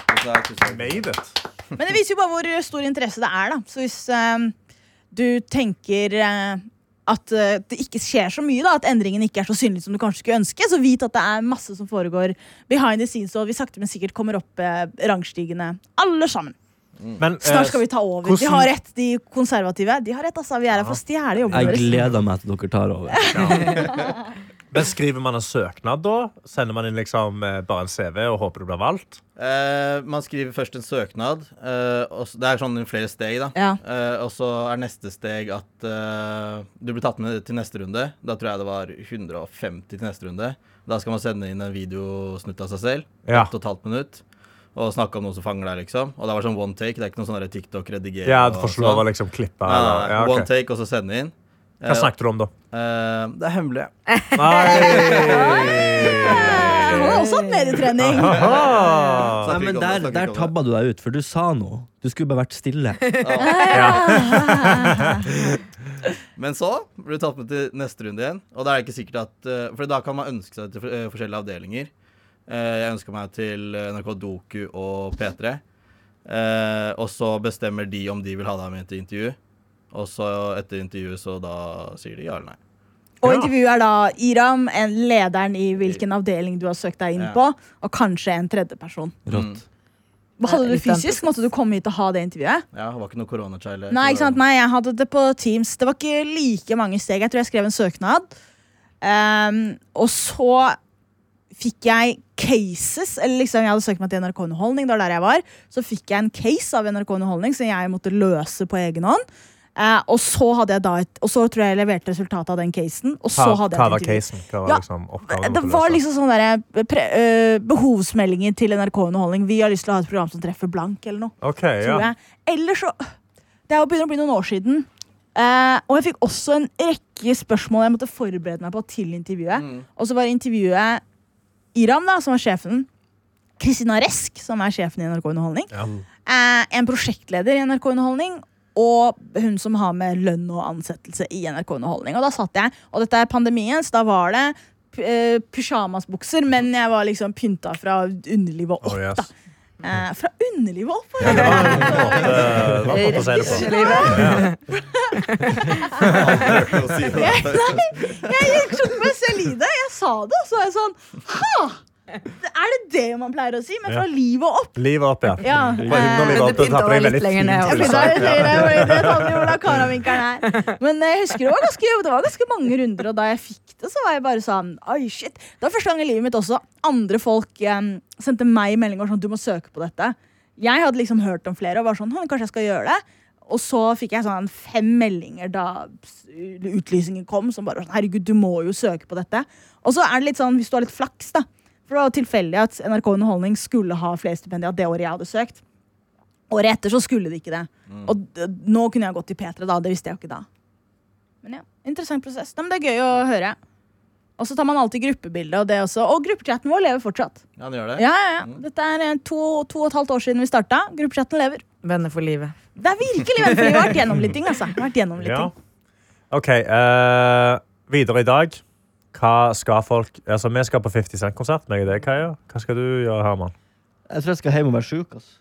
Speaker 6: Tusen takk, tusen takk.
Speaker 2: Made it.
Speaker 3: Men det viser jo bare hvor stor interesse det er, da. Så hvis eh, du tenker eh, at eh, det ikke skjer så mye, da, at endringen ikke er så synlig som du kanskje skulle ønske, så vit at det er masse som foregår behind the scenes, og at vi sakte, men sikkert kommer opp eh, rangstigene, alle sammen.
Speaker 2: Men eh,
Speaker 3: Snart skal vi ta over.
Speaker 2: hvordan-
Speaker 3: De har rett, de konservative. De har rett, altså. Vi er her for å stjele jobben
Speaker 5: Jeg
Speaker 3: deres.
Speaker 5: gleder meg til dere tar over.
Speaker 2: men skriver man en søknad da? Sender man inn liksom eh, bare en CV og håper du blir valgt?
Speaker 6: Eh, man skriver først en søknad. eh, og så, det er sånn flere steg, da.
Speaker 3: Ja.
Speaker 6: Eh, og så er neste steg at eh, du blir tatt med til neste runde. Da tror jeg det var 150 til neste runde. Da skal man sende inn en videosnutt av seg selv.
Speaker 2: Ja.
Speaker 6: Ett og et halvt minutt. Og snakke om noe som fanger deg, liksom. Og det var sånn one take. Det er ikke noe sånn der TikTok-redigering.
Speaker 2: Ja, du
Speaker 6: og
Speaker 2: får ikke
Speaker 6: sånn.
Speaker 2: lov å liksom klippe.
Speaker 6: Nei, nei,
Speaker 2: eller-
Speaker 6: nei.
Speaker 2: Ja, ok.
Speaker 6: One take, og så sende inn.
Speaker 2: Hva snakket du om, da?
Speaker 6: Eh, det er hemmelig.
Speaker 3: Eh, Hun har også hatt medietrening.
Speaker 6: Så
Speaker 2: Ah.
Speaker 5: Nei,
Speaker 6: jeg
Speaker 5: men der,
Speaker 6: fikk aldri-
Speaker 5: der
Speaker 6: jeg fikk aldri-
Speaker 5: tabba du deg ut, for du sa noe. Du skulle bare vært stille.
Speaker 6: (laughs)
Speaker 3: Eh,
Speaker 6: Men så blir du tatt med til neste runde igjen. Og da er det ikke sikkert at eh, For da kan man ønske seg til eh, forskjellige avdelinger. Eh, Jeg ønska meg til eh, NRK Doku og P3. Eh, Og så bestemmer de om de vil ha deg med til intervju. Og så etter intervjuet så da sier de ja eller nei.
Speaker 3: Og
Speaker 2: Ja.
Speaker 3: intervjuet er da Iram, en lederen i hvilken avdeling du har søkt deg inn
Speaker 6: Ja.
Speaker 3: på, og kanskje en tredjeperson.
Speaker 5: Rått.
Speaker 3: Hva hadde du
Speaker 4: Litt annet
Speaker 3: fysisk? Måtte du komme hit og ha det intervjuet?
Speaker 6: Ja, det var ikke noe koronachild.
Speaker 3: Nei, ikke sant? Nei, jeg hadde det på Teams. Det var ikke like mange steg. Jeg tror jeg skrev en søknad. Ehm, og så fikk jeg cases, eller liksom jeg hadde søkt meg til NRK Underholdning, det var der jeg var, så fikk jeg en case av NRK Underholdning som jeg måtte løse på egen hånd. Eh, og så hadde jeg da et, og så tror jeg jeg leverte resultatet av den casen. Og så
Speaker 2: Hva,
Speaker 3: hadde
Speaker 2: hva
Speaker 3: jeg
Speaker 2: var
Speaker 3: et intervju.
Speaker 2: casen? Hva var
Speaker 3: Ja,
Speaker 2: liksom oppgaven?
Speaker 3: Det
Speaker 2: du måtte
Speaker 3: var
Speaker 2: løse?
Speaker 3: liksom sånn derre pre, øh, behovsmeldinger til NRK Underholdning. Vi har lyst til å ha et program som treffer blank, eller noe.
Speaker 2: Ok,
Speaker 3: liksom-
Speaker 2: ja.
Speaker 3: Tror jeg. Eller så Det er jo begynner å bli noen år siden. Eh, og jeg fikk også en rekke spørsmål jeg måtte forberede meg på til intervjuet. Og så var intervjuet Iram, da, som var sjefen. Kristina Resk, som er sjefen i NRK Underholdning.
Speaker 2: Ja.
Speaker 3: Eh, en prosjektleder i NRK Underholdning. Og hun som har med lønn og ansettelse i NRK Underholdning. Og da satt jeg, og dette er pandemien, så da var det uh, pysjamasbukser, men jeg var liksom pynta fra underlivet og opp.
Speaker 2: Oh, yes.
Speaker 3: da. Eh, fra underlivet og opp!
Speaker 2: ja, det var en måte, det var en måte å si det på.
Speaker 3: (laughs)
Speaker 6: (laughs)
Speaker 3: Jeg, nei, jeg sånn tok meg selv i det. Jeg sa det, og så var jeg sånn Ha! Er det det man pleier å si? Men fra
Speaker 2: Ja.
Speaker 3: livet og opp.
Speaker 2: Livet opp, ja.
Speaker 3: Ja.
Speaker 2: Bare underlivet opp,
Speaker 3: eh,
Speaker 4: Men du
Speaker 2: det tar på deg
Speaker 4: pynta deg litt
Speaker 2: veldig
Speaker 4: lenger ned,
Speaker 2: fint
Speaker 3: jeg
Speaker 4: også.
Speaker 2: utsatt.
Speaker 3: begynner å irritere meg, det tar vi jo la karavinkelen her. Men jeg husker det var ganske, det var ganske mange runder, og da jeg fikk det, så var jeg bare sånn Oi, shit. Det var første gang i livet mitt også andre folk em, sendte meg meldinger sånn Du må søke på dette. Jeg hadde liksom hørt om flere og var sånn «Hm, Kanskje jeg skal gjøre det. Og så fikk jeg sånn fem meldinger da utlysningen kom, som bare var sånn Herregud, du må jo søke på dette. Og så er det litt sånn, hvis du har litt flaks, da. For det var tilfeldig at NRK Underholdning skulle ha flere stipendier det året jeg hadde søkt. Året etter så skulle de ikke det. Og d nå kunne jeg gått til P3, da. Det visste jeg jo ikke da. Men ja, Interessant prosess. Nei, men det er gøy å høre. Og så tar man alltid gruppebilde. Og det også. Og gruppechatten vår lever fortsatt.
Speaker 6: Ja, han gjør det.
Speaker 3: Ja, ja, ja. Dette er eh, to, to og et halvt år siden vi starta. Gruppechatten lever.
Speaker 4: Venner for livet.
Speaker 3: Det er virkelig vennfri. Vi har vært gjennom litt ting, altså. Vi har vært gjennom litt
Speaker 2: Ja.
Speaker 3: ting.
Speaker 2: OK. eh, videre i dag. Hva skal folk Altså, Vi skal på 50 Cent-konsert. meg og deg, Kaja. Hva skal du gjøre, Herman?
Speaker 5: Jeg tror jeg skal hjem og være sjuk. Altså.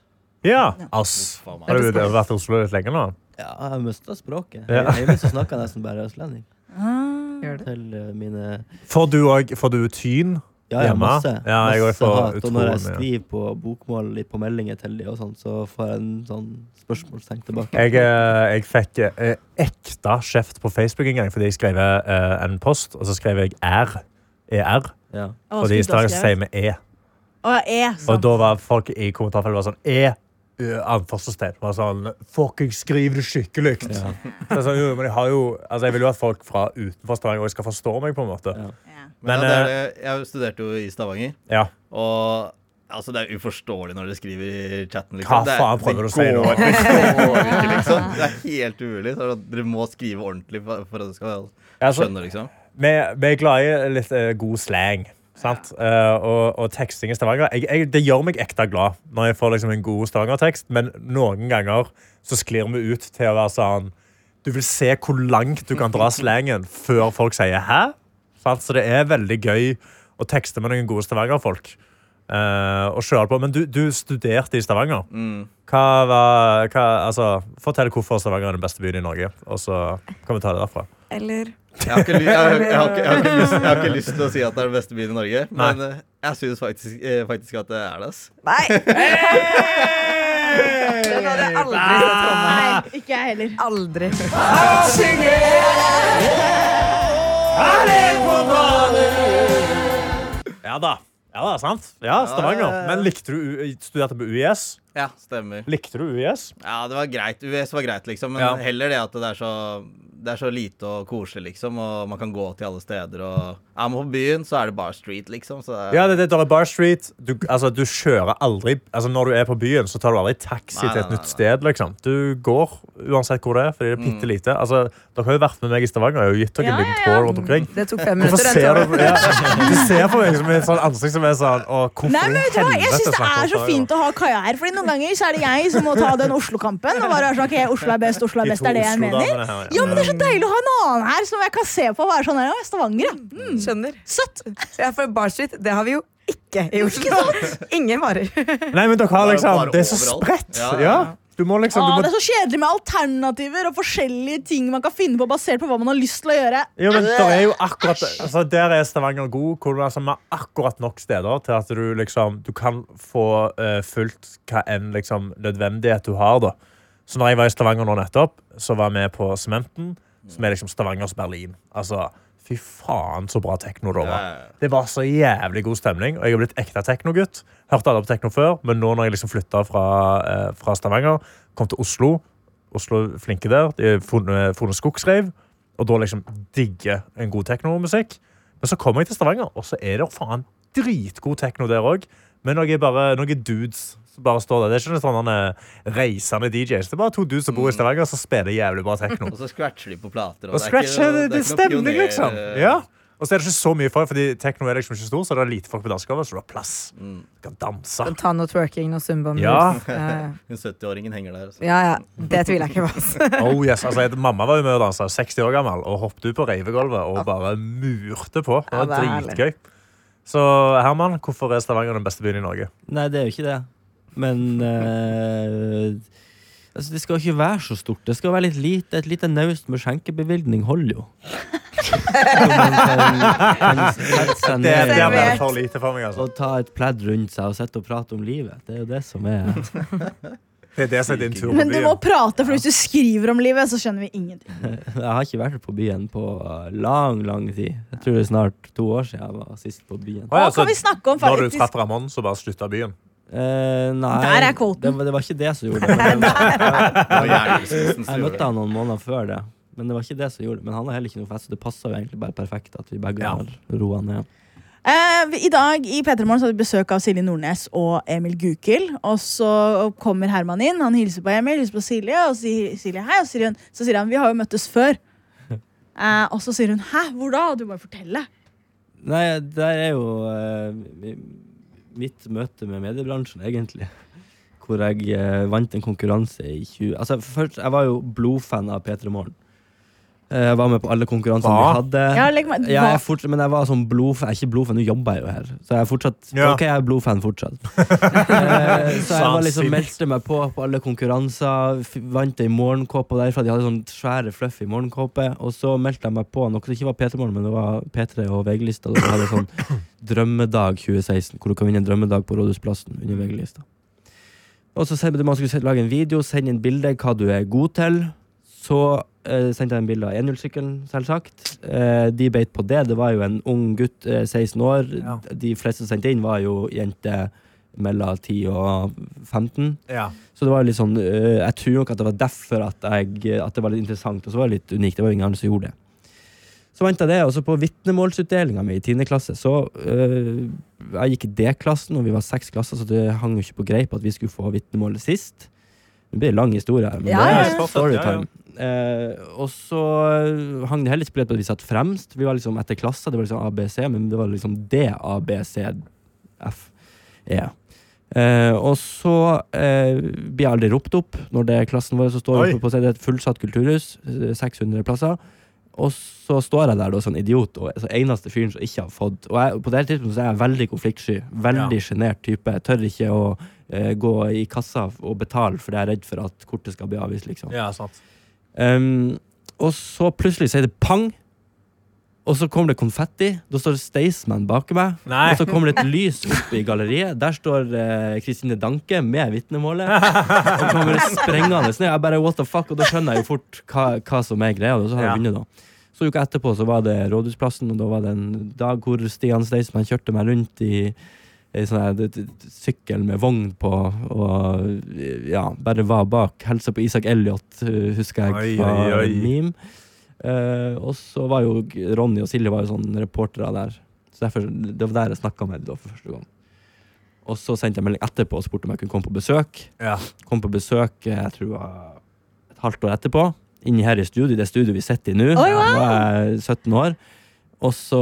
Speaker 2: Ja, ass.
Speaker 6: Faen meg.
Speaker 2: Har du vært i Oslo litt lenge nå?
Speaker 5: Ja, jeg mista språket.
Speaker 2: Ja.
Speaker 5: Hjemme så snakker jeg nesten bare østlending.
Speaker 3: Ah.
Speaker 4: Gjør det.
Speaker 5: Til eh, mine
Speaker 2: Får du òg Får du tyn?
Speaker 5: Ja, ja,
Speaker 2: Hjemme?
Speaker 5: masse.
Speaker 2: Ja, jeg går
Speaker 5: masse
Speaker 2: for
Speaker 5: hat. Og når jeg
Speaker 2: utrolig.
Speaker 5: skriver på bokmål litt på meldinger til de og sånn, så får jeg en sånn spørsmålstegn tilbake.
Speaker 2: Jeg, eh, jeg fikk eh, ekte kjeft på Facebook en gang fordi jeg skrev eh, en post, og så skrev jeg R. ER.
Speaker 5: Ja.
Speaker 3: Å,
Speaker 2: Og de i
Speaker 3: skulle
Speaker 2: stedet
Speaker 3: du ha
Speaker 2: sier
Speaker 3: skrevet?
Speaker 2: vi E.
Speaker 3: Å, ja, E.
Speaker 2: Og
Speaker 3: sant.
Speaker 2: da var folk i kommentarfeltet bare sånn E! eh, Anførselstegn. Var sånn Fucking skriv det skikkelig!
Speaker 5: Ja.
Speaker 2: Så jeg sa, jo, men jeg, har jo, altså jeg vil jo at folk fra utenfor Stavanger også skal forstå meg, på en måte.
Speaker 5: Ja.
Speaker 3: Ja.
Speaker 6: Men,
Speaker 2: Men,
Speaker 6: ja, det er det. Jeg studerte jo i Stavanger,
Speaker 2: Ja.
Speaker 6: og altså, det er uforståelig når dere skriver i chatten. liksom.
Speaker 2: Hva faen prøver du å si nå?
Speaker 6: nå? (laughs) Liksom. Det er helt umulig. Så dere må skrive ordentlig for, for at dere skal
Speaker 2: Altså,
Speaker 6: skjønne, liksom.
Speaker 2: vi, vi er glad i litt eh, god slang. Sant? Eh, og, og teksting i Stavanger jeg, jeg, Det gjør meg ekte glad når jeg får liksom, en god Stavanger-tekst, men noen ganger så sklir vi ut til å være sånn Du vil se hvor langt du kan dra slangen før folk sier 'hæ?' Sant? Så det er veldig gøy å tekste med noen gode Stavanger-folk. eh, og kjøre på. Men du, du studerte i Stavanger. Hva var, hva, altså, fortell hvorfor Stavanger er den beste byen i Norge, og så kan vi ta det derfra.
Speaker 4: Eller
Speaker 6: Jeg har, ikke, ly- jeg, har, jeg, har ikke, jeg, har ikke lyst, jeg har ikke lyst til å si at det er den beste byen i Norge, men eh, jeg syns faktisk, eh, faktisk at det er det. ass.
Speaker 4: Nei! (laughs) Den hadde jeg aldri sett komme.
Speaker 3: Nei, ikke jeg heller.
Speaker 4: Aldri.
Speaker 2: Ja da. Ja da, sant? Ja, Stavanger.
Speaker 6: Ja, ja, ja.
Speaker 2: Men likte du U- studerte på UiS?
Speaker 6: Ja, stemmer.
Speaker 2: Likte du UiS?
Speaker 6: Ja, det var greit. UVS var greit, liksom. Men
Speaker 2: Ja.
Speaker 6: heller det at det er, så, det er så lite og koselig, liksom. Og man kan gå til alle steder. Og er man på byen, så er det bare street, liksom. Så det er,
Speaker 2: Ja, det, det der er Bar Street. Du, altså, du kjører aldri altså, Når du er på byen, så tar du aldri taxi
Speaker 6: Nei,
Speaker 2: til
Speaker 6: nei,
Speaker 2: et
Speaker 6: nei,
Speaker 2: nytt sted. liksom. Du går uansett hvor det er, fordi det er bitte lite. Altså, dere har jo vært med meg i Stavanger og jeg har jo gitt dere
Speaker 3: Mm. Ja,
Speaker 2: en liten
Speaker 3: ja, ja.
Speaker 2: tour rundt omkring.
Speaker 4: Det tok fem
Speaker 2: Hvorfor
Speaker 4: minutter. den
Speaker 2: ser
Speaker 4: tåren.
Speaker 2: du, ja, du ser på meg som et sånn ansikt som er sånn Å, hvorfor
Speaker 3: Nei, men vet du hva? Jeg syns det
Speaker 2: snakker vi
Speaker 3: er så
Speaker 2: om Stavanger?
Speaker 3: fint å ha Kaja her. Fordi Noen ganger så er det jeg som må ta den Oslo-kampen. Og bare være sånn, ok, Oslo er best, Oslo er
Speaker 2: De
Speaker 3: best,
Speaker 2: to
Speaker 3: er det jeg mener.
Speaker 2: Oslo-damene her,
Speaker 3: Ja, men Det er så deilig å ha en annen her som jeg kan se på og være sånn her, ja, Stavanger, ja. Mm,
Speaker 4: Skjønner.
Speaker 3: søtt.
Speaker 4: Ja, for Bar Street, det har vi jo ikke i Oslo. Ingen varer.
Speaker 2: Nei, men dere har
Speaker 6: Det er
Speaker 2: liksom
Speaker 6: bare
Speaker 2: Det er så
Speaker 6: overalt.
Speaker 2: spredt.
Speaker 6: Ja, ja,
Speaker 2: Ja.
Speaker 6: ja.
Speaker 2: Du må liksom
Speaker 3: Ah,
Speaker 2: du
Speaker 3: det
Speaker 2: må,
Speaker 3: er så kjedelig med alternativer og forskjellige ting man kan finne på basert på hva man har lyst til å gjøre.
Speaker 2: jo, men der er jo akkurat altså, Der er Stavanger god. Hvor du altså, vi har akkurat nok steder til at du liksom Du kan få eh, fulgt hva enn liksom, nødvendighet du har, da. Så når jeg var i Stavanger nå nettopp, så var vi på Sementen, som er liksom Stavangers Berlin. Altså Fy faen, så bra tekno det var.
Speaker 6: Ja, ja, ja.
Speaker 2: Det var så jævlig god stemning, og jeg har blitt ekte teknogutt. Hørte alle på tekno før, men nå når jeg liksom flytta fra, eh, fra Stavanger, kom til Oslo Oslo er flinke der. De har funnet, funnet skogsreiv, og da liksom digger en god teknomusikk. Men så kommer jeg til Stavanger, og så er det faen dritgod tekno der òg. Men noe bare noen dudes som bare står der. Det er ikke noen sånne eh, reisende DJs. Det er bare to dudes som bor i Stavanger, som spiller jævlig bra tekno.
Speaker 6: Og så scratcher de på plater.
Speaker 2: Og
Speaker 6: det er ikke-
Speaker 2: scratch det, det,
Speaker 6: er ikke noe
Speaker 2: stemning,
Speaker 6: pioner-
Speaker 2: liksom. Ja. Og så er det ikke så mye folk, fordi tekno er liksom ikke stor, så det er lite folk på danskegulvet, så du har plass. Du kan danse.
Speaker 4: Kan ta noe twerking og zumba moves.
Speaker 2: Ja.
Speaker 4: Eh,
Speaker 6: Hun 70-åringen henger der. altså. Så.
Speaker 4: ja, ja. Det tviler jeg ikke på. Altså.
Speaker 2: Oh yes, altså jeg- Mamma var jo med og dansa, 60 år gammel, og hoppet ut på reivegulvet og bare murte på. Ah. Det var
Speaker 4: Ja, det er herlig.
Speaker 2: dritgøy. Så Herman, hvorfor er Stavanger den beste byen i Norge?
Speaker 5: Nei, det er jo ikke det. Men eh, altså, det skal ikke være så stort. Det skal være litt lite. Et lite naust med skjenkebevilgning holder jo. Så man kan, kan sette seg
Speaker 2: Det, det er
Speaker 5: ned
Speaker 2: bare
Speaker 4: Servert.
Speaker 2: for lite for meg, altså.
Speaker 5: og ta et pledd rundt seg og sitte og prate om livet. Det er jo det som er
Speaker 2: Det er det som er din tur på
Speaker 3: Men du må
Speaker 2: byen.
Speaker 3: prate, for hvis du skriver om livet, så skjønner vi ingenting.
Speaker 5: Jeg har ikke vært på byen på lang, lang tid. Jeg tror det er snart to år siden jeg var sist på byen.
Speaker 2: Å, ja,
Speaker 3: Hva
Speaker 2: så
Speaker 3: kan vi snakke om,
Speaker 2: når du
Speaker 3: faktisk?
Speaker 2: traff Ramón, så bare slutta byen.
Speaker 5: Eh, nei,
Speaker 3: Der er kvoten.
Speaker 5: Det, var- det var ikke det som gjorde
Speaker 3: (laughs)
Speaker 5: det. Men det
Speaker 6: Ja, hjernerystelsen
Speaker 5: jeg
Speaker 6: styrer
Speaker 5: møtte
Speaker 6: det.
Speaker 5: han noen måneder før det. Men det var ikke det som gjorde det. Men han har heller ikke noe fest, så det passer jo egentlig bare perfekt at vi begge
Speaker 2: Ja.
Speaker 5: har roa ned.
Speaker 3: Eh, I dag i P3 Morgen så hadde vi besøk av Silje Nordnes og Emil Gukild. Og så kommer Herman inn, han hilser på Emil, hilser på Silje, og sier Silje hei. Og sier hun, så sier han vi har jo møttes
Speaker 2: (laughs)
Speaker 3: før. Eh, og så sier hun hæ, hvor da? Og du må jo fortelle.
Speaker 5: Nei, der er jo eh, mi- mitt møte med mediebransjen, egentlig. Hvor jeg eh, vant en konkurranse i 20... Altså, først, jeg var jo blodfan av P3 Morgen. Eh, jeg var med på alle konkurransene
Speaker 2: Hva?
Speaker 5: vi hadde.
Speaker 3: Ja, legg meg-
Speaker 5: Ja, jeg er
Speaker 3: hva-
Speaker 5: fortsatt, men jeg var sånn blodfan. Jeg er ikke blodfan, nå jobber jeg jo her. Så jeg er fortsatt
Speaker 2: Ja.
Speaker 5: Ok, jeg er
Speaker 2: (laughs)
Speaker 5: blodfan fortsatt. Eh, så jeg var liksom
Speaker 2: Sannsynlig.
Speaker 5: meldte meg på på alle konkurranser. f- Vant ei morgenkåpe derfra. De hadde sånn svære, fluffy morgenkåpe. Og så meldte jeg meg på noe det ikke var P3 Morgen, men det var P3 og VG-lista. Da hadde jeg
Speaker 2: (coughs)
Speaker 5: sånn Drømmedag 2016, hvor du kan vinne en drømmedag på Rådhusplassen under VG-lista. Og så sendte man skulle lage en video, sende inn bilde hva du er god til. Så eh, sendte jeg en bilde av 1-0-sykkelen, selvsagt. Eh, de beit på det. Det var jo en ung gutt, eh, 16 år.
Speaker 2: Ja.
Speaker 5: De fleste som sendte inn, var jo jenter mellom 10 og 15.
Speaker 2: Ja.
Speaker 5: Så det var jo litt sånn øh, Jeg tror nok at det var derfor at, jeg, at det var litt interessant, og så var det litt unikt. Det var jo ingen andre som gjorde det. Så venta det, og så på vitnemålsutdelinga mi i 10. klasse, så øh, Jeg gikk i D-klassen, og vi var seks klasser, så det hang jo ikke på greip at vi skulle få vitnemålet sist. Det blir en lang historie her, men
Speaker 3: Ja, ja,
Speaker 5: det
Speaker 3: ja.
Speaker 5: er storytime. Eh, og så øh, hang det heller ikke på greip at vi satt fremst. Vi var liksom etter klasser, det var liksom ABC, men det var liksom D, A, B, C, F, E. Eh, og så eh, blir jeg aldri ropt opp når det er klassen vår som står
Speaker 2: Oi.
Speaker 5: oppe på scenen. Det er et fullsatt kulturhus, eh, 600 plasser. Og så står jeg der da, som en idiot og så eneste fyren som ikke har fått Og jeg, på det her tidspunktet så er jeg veldig konfliktsky. Veldig sjenert type. Jeg tør ikke å eh, gå i kassa og betale fordi jeg er redd for at kortet skal bli avvist, liksom.
Speaker 2: ja, sant.
Speaker 5: Um, og så plutselig sier det pang, og så kommer det konfetti. Da står det Staysman bak meg,
Speaker 2: Nei.
Speaker 5: og så kommer det et lys opp i galleriet. Der står eh, Kristine Danke med vitnemålet. Og kommer sprengende ned. Jeg bare what the fuck, og da skjønner jeg jo fort hva, hva som er greia. Og så har jeg
Speaker 2: Ja.
Speaker 5: vunnet, da. Så uka etterpå så var det Rådhusplassen, og da var det en dag hvor Stian Staysman kjørte meg rundt i i sånn her d- d- d- sykkel med vogn på, og ja, bare var bak. Helsa på Isak Elliot, eh, husker jeg,
Speaker 2: Oi,
Speaker 5: fra
Speaker 2: oi, oi.
Speaker 5: meme. Eh, og så var jo G- Ronny og Silje var jo sånne reportere der. Så derfor, Det var der jeg snakka med dem da for første gang. Og så sendte jeg melding etterpå og spurte om jeg kunne komme på besøk.
Speaker 2: Ja.
Speaker 5: Kom på besøk eh, jeg tror det var et halvt år etterpå. Inni her i studio, det studioet vi sitter i nå.
Speaker 3: Oi,
Speaker 5: Da
Speaker 3: wow!
Speaker 5: var jeg 17 år. Og så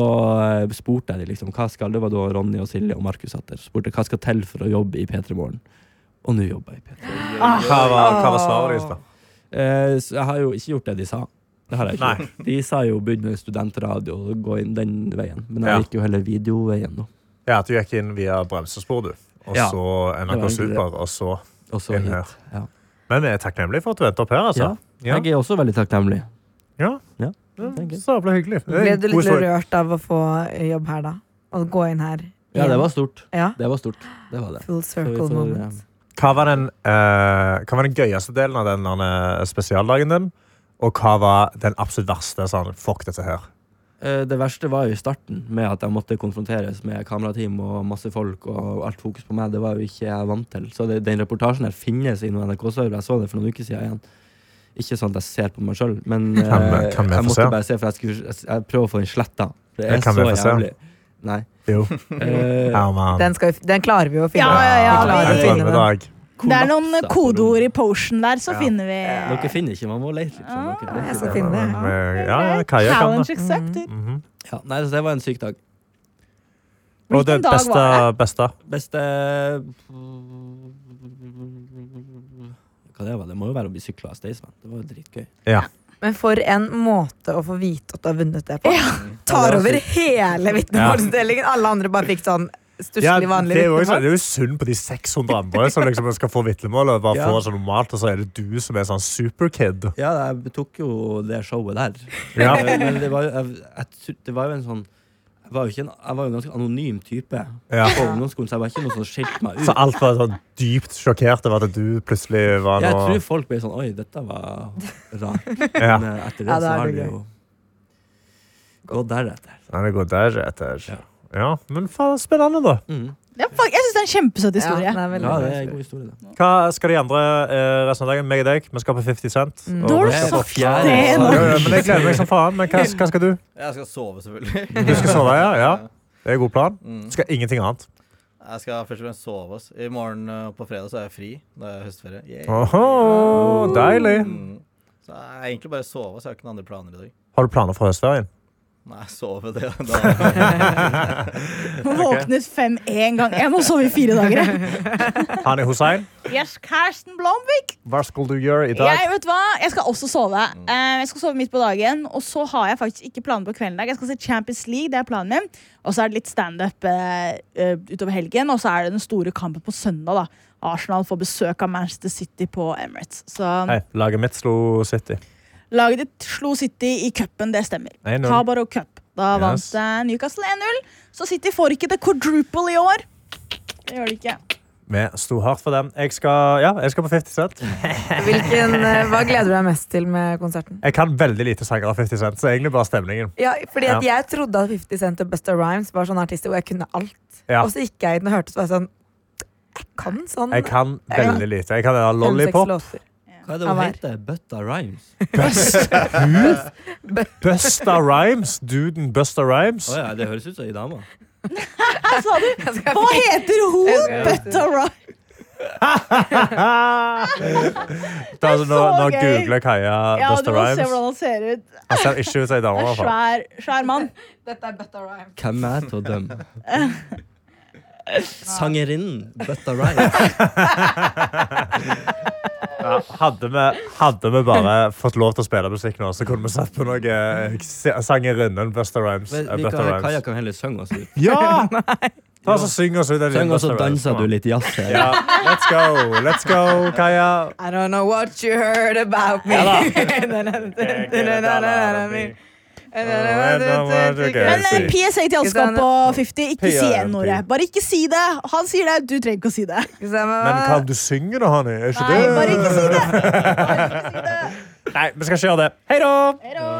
Speaker 5: eh, spurte jeg dem liksom, hva skal det var da Ronny og Silje og Markus satt der. Spurte hva skal til for å jobbe i P3 Morgen. Og nå jobber jeg i P3.
Speaker 2: Hva var, hva var svaret ditt, da?
Speaker 5: Eh, så jeg har jo ikke gjort det de sa. Det har jeg ikke
Speaker 2: Nei.
Speaker 5: gjort. De sa jo begynn med studentradio og gå inn den veien. Men jeg
Speaker 2: Ja.
Speaker 5: gikk jo heller videoveien nå.
Speaker 2: Ja, at du gikk inn via bremsespor, du. Og
Speaker 5: Ja.
Speaker 2: så
Speaker 5: Det var
Speaker 2: NRK
Speaker 5: egentlig
Speaker 2: Super, og så
Speaker 5: Og så
Speaker 2: inn
Speaker 5: hit.
Speaker 2: her.
Speaker 5: Ja.
Speaker 2: Men vi er takknemlige for at du endte opp her, altså. Ja.
Speaker 5: Jeg er også veldig takknemlig.
Speaker 2: Ja.
Speaker 5: Ja.
Speaker 2: Sabla hyggelig. Det er
Speaker 4: Ble du
Speaker 2: god
Speaker 4: litt
Speaker 2: historie.
Speaker 4: rørt av å få jobb her, da? Å gå inn her?
Speaker 5: ja, det var stort.
Speaker 4: Ja,
Speaker 5: Det var stort. Det var det.
Speaker 4: Full circle
Speaker 5: Så vi får, eh,
Speaker 4: moment.
Speaker 2: Hva var den, eh, hva var den gøyeste delen av den derne spesialdagen din? Og hva var den absolutt verste? Sånn, fuck dette her.
Speaker 5: Eh, Det verste var jo i starten, med at jeg måtte konfronteres med kamerateam og masse folk. og alt fokus på meg, Det var jo ikke jeg vant til. Så det, den reportasjen her finnes i noen NRK-server. Jeg så det for noen uker siden igjen. Ikke sånn at jeg ser på meg sjøl, men eh,
Speaker 2: Kan- kan vi få
Speaker 5: jeg måtte
Speaker 2: se?
Speaker 5: bare se, for jeg, skulle, jeg, jeg prøver å få den sletta. Det
Speaker 2: Ja,
Speaker 5: er
Speaker 2: kan vi
Speaker 5: så
Speaker 2: få se?
Speaker 5: jævlig. Nei.
Speaker 2: Jo.
Speaker 5: Eh,
Speaker 2: Ja, man.
Speaker 4: Den, skal vi, den klarer vi jo å finne.
Speaker 3: Ja, ja, ja,
Speaker 4: Vi klarer
Speaker 2: Jeg
Speaker 4: å
Speaker 3: vi-
Speaker 2: tar
Speaker 4: finne
Speaker 2: med
Speaker 4: den.
Speaker 2: dag.
Speaker 3: Det er noen
Speaker 5: kollapsa på
Speaker 3: kodeord i
Speaker 5: rommet.
Speaker 3: potion der, så
Speaker 2: Ja.
Speaker 3: finner vi
Speaker 5: Dere finner ikke, man må lete litt. Sånn. Dere,
Speaker 4: jeg
Speaker 5: vet
Speaker 4: skal
Speaker 5: ikke.
Speaker 4: finne det.
Speaker 2: Ja, ja, Kaja kan
Speaker 3: Challenge
Speaker 2: det.
Speaker 3: accepted.
Speaker 2: Mhm.
Speaker 5: Ja, nei, så det var en syk dag.
Speaker 2: Og det
Speaker 3: Hvilken dag
Speaker 2: beste,
Speaker 3: var
Speaker 2: beste
Speaker 5: Beste Hva det var? Det må jo være å bli sykla av Staysman. Det var jo dritgøy.
Speaker 2: Ja.
Speaker 4: Men for en måte å få vite at du har vunnet det på. Tar over hele vitnemålsdelingen. Alle andre bare fikk sånn
Speaker 2: Ja,
Speaker 4: stusslig
Speaker 2: det,
Speaker 4: vanlig
Speaker 2: er jo også, sånn, det
Speaker 4: vitnemål.
Speaker 2: er jo synd på de 600 andre som liksom skal få vitnemål. Og bare
Speaker 5: Ja.
Speaker 2: få sånn normalt, og så er det du som er sånn superkid.
Speaker 5: Ja, jeg tok jo det showet (laughs) der.
Speaker 2: Ja.
Speaker 5: Eh, Men det var, jo- jeg, jeg, tr- det var jo en sånn jeg var jo, ikke en, jeg var jo en ganske anonym type
Speaker 2: Ja.
Speaker 5: på ungdomsskolen, så jeg var ikke noe som skilte meg ut.
Speaker 2: Så alt var sånn dypt sjokkert over at du plutselig var
Speaker 5: Jeg
Speaker 2: noe
Speaker 5: tror folk ble sånn Oi, dette var rart. (laughs)
Speaker 2: Ja.
Speaker 5: Men eh, etter det
Speaker 4: Ja,
Speaker 5: så
Speaker 4: da er
Speaker 5: har
Speaker 4: det
Speaker 5: det
Speaker 4: gøy.
Speaker 5: jo gått deretter.
Speaker 2: Ja, det går der etter.
Speaker 5: Ja.
Speaker 2: Ja, men faen, spennende, da.
Speaker 5: Mm.
Speaker 3: Ja, fuck, jeg syns det er en kjempesøt historie.
Speaker 4: Ja, det er veldig
Speaker 5: Ja,
Speaker 4: bra
Speaker 5: det er en
Speaker 4: historie.
Speaker 5: god historie, det.
Speaker 2: Hva skal de andre eh, resten av dagen? Meg og deg, vi skal på 50 Cent.
Speaker 4: Mm.
Speaker 2: og
Speaker 3: Da har
Speaker 2: vi
Speaker 3: du
Speaker 2: skal
Speaker 5: så
Speaker 2: på-
Speaker 5: fjern.
Speaker 3: det
Speaker 2: Ja,
Speaker 3: nå.
Speaker 2: ja, men Jeg gleder meg som faen. Men hva, hva skal du?
Speaker 6: Jeg skal sove, selvfølgelig.
Speaker 2: Du skal sove, ja? ja. Det er god plan.
Speaker 6: Mm.
Speaker 2: Du skal ingenting annet.
Speaker 6: Jeg skal først og fremst sove. Ass. I morgen eh, på fredag så er jeg fri. Da er jeg høstferie. Yay.
Speaker 2: Åhå, deilig.
Speaker 6: Mm. Så jeg er egentlig bare sove, så jeg har ikke noen andre planer i dag.
Speaker 2: Har du planer for høstferien?
Speaker 6: Nei, sove det. Da.
Speaker 3: Hun våknet fem én gang. Jeg må sove i fire dager. jeg.
Speaker 2: Hani Hussein,
Speaker 3: Yes, Karsten Blomvik.
Speaker 2: hva skal du gjøre i dag? Mm.
Speaker 3: Jeg vet du hva, jeg skal også sove. Eh, Jeg skal sove midt på dagen, og så har jeg faktisk ikke planer på kvelden. i dag. Jeg skal se Champions League, det er planen min. Og så er det litt standup eh, eh, utover helgen, og så er det den store kampen på søndag. da. Arsenal får besøk av Manchester City på Emirates. Så
Speaker 2: Hei, laget mitt slo City.
Speaker 3: laget ditt slo City i cupen, det stemmer.
Speaker 2: 1-0.
Speaker 3: Habaro Cup. Da
Speaker 2: Yes.
Speaker 3: vant eh, Newcastle 1-0. Så City får ikke det quadruple i år. Det gjør de ikke.
Speaker 2: Vi sto hardt for dem. Jeg skal, ja, jeg skal på 50 Cent.
Speaker 4: Hvilken, eh, hva gleder du deg mest til med konserten?
Speaker 2: Jeg kan veldig lite sanger av 50 Cent, så egentlig bare stemningen.
Speaker 4: Ja, fordi at
Speaker 2: Ja.
Speaker 4: Jeg trodde at 50 Cent og Busta Rhymes var sånne artister hvor jeg kunne alt.
Speaker 2: Ja.
Speaker 4: Og så gikk jeg inn og hørte, så var jeg sånn Jeg kan sånn.
Speaker 2: Jeg kan
Speaker 4: Jeg kan-
Speaker 2: veldig lite. Jeg kan den der
Speaker 4: fem-seks
Speaker 2: Lollipop.
Speaker 4: låter.
Speaker 5: Hva er det
Speaker 4: Ja,
Speaker 5: hun
Speaker 4: vær.
Speaker 5: heter? Bøtta Rhymes?
Speaker 2: Busta Rhymes. Duden Busta Rhymes.
Speaker 5: Å ja, det høres ut som ei dame.
Speaker 3: Hva sa du?
Speaker 4: Jeg skal-
Speaker 3: Hva heter hun?
Speaker 4: Jeg skal-
Speaker 3: Butta Rock.
Speaker 2: Det er altså, nå,
Speaker 3: så
Speaker 2: nå
Speaker 3: gøy.
Speaker 2: googler Kaja
Speaker 3: Ja, du
Speaker 2: Busta
Speaker 3: må se
Speaker 2: Rhymes.
Speaker 3: hvordan han ser ut.
Speaker 2: Han ser ikke ut som ei dame. i
Speaker 3: Det er
Speaker 2: hvert fall.
Speaker 3: svær, svær mann.
Speaker 4: Dette er Busta Rhymes.
Speaker 5: Hvem er jeg til å dømme? (laughs) Sangerinnen Bøtta Rhymes.
Speaker 2: Ja, hadde, vi, hadde vi bare fått lov til å spille musikk nå, så kunne vi satt på noe eh, se- sangerinnen Busta Rhymes.
Speaker 5: Men
Speaker 2: eh,
Speaker 5: vi
Speaker 2: Busta
Speaker 5: kan, Kaja
Speaker 2: Rhymes.
Speaker 5: kan heller synge oss ut.
Speaker 2: (laughs) Ja! Ta oss og Syng oss ut. en liten
Speaker 5: Syng, og så
Speaker 2: Busta Rhymes.
Speaker 5: danser du litt jazz her.
Speaker 2: Ja, let's go, let's go, (laughs) Kaja.
Speaker 4: I don't know what you heard about me. (laughs)
Speaker 3: Men eh,
Speaker 2: Jeg sier-
Speaker 3: PSA til alle som skal på 50, ikke si
Speaker 2: PRP.
Speaker 3: N-ordet. Bare ikke si det. Han sier det, du trenger ikke å si det.
Speaker 2: Men kan du synge da, Hanni? Er ikke
Speaker 3: Nei, bare ikke si det.
Speaker 2: Nei, vi skal ikke gjøre det. Hei da!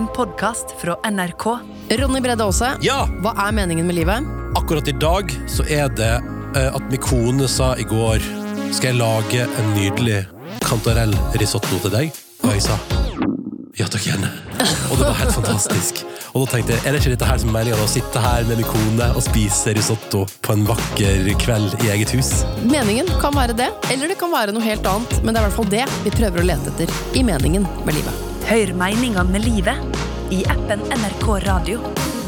Speaker 7: En podkast fra NRK.
Speaker 8: Ronny Bredde Aase,
Speaker 9: Ja,
Speaker 8: hva er meningen med livet?
Speaker 9: akkurat i dag så er det eh, at min kone sa i går Skal jeg lage en nydelig kantarell risotto til deg? Og jeg sa ja takk gjerne. Og det var helt fantastisk. Og da tenkte jeg, er det ikke dette her som er meningen? Å sitte her med min kone og spise risotto på en vakker kveld i eget hus?
Speaker 8: Meningen kan være det, eller det kan være noe helt annet, men det er i hvert fall det vi prøver å lete etter i meningen med livet.
Speaker 7: Hør meningene med livet i appen NRK Radio.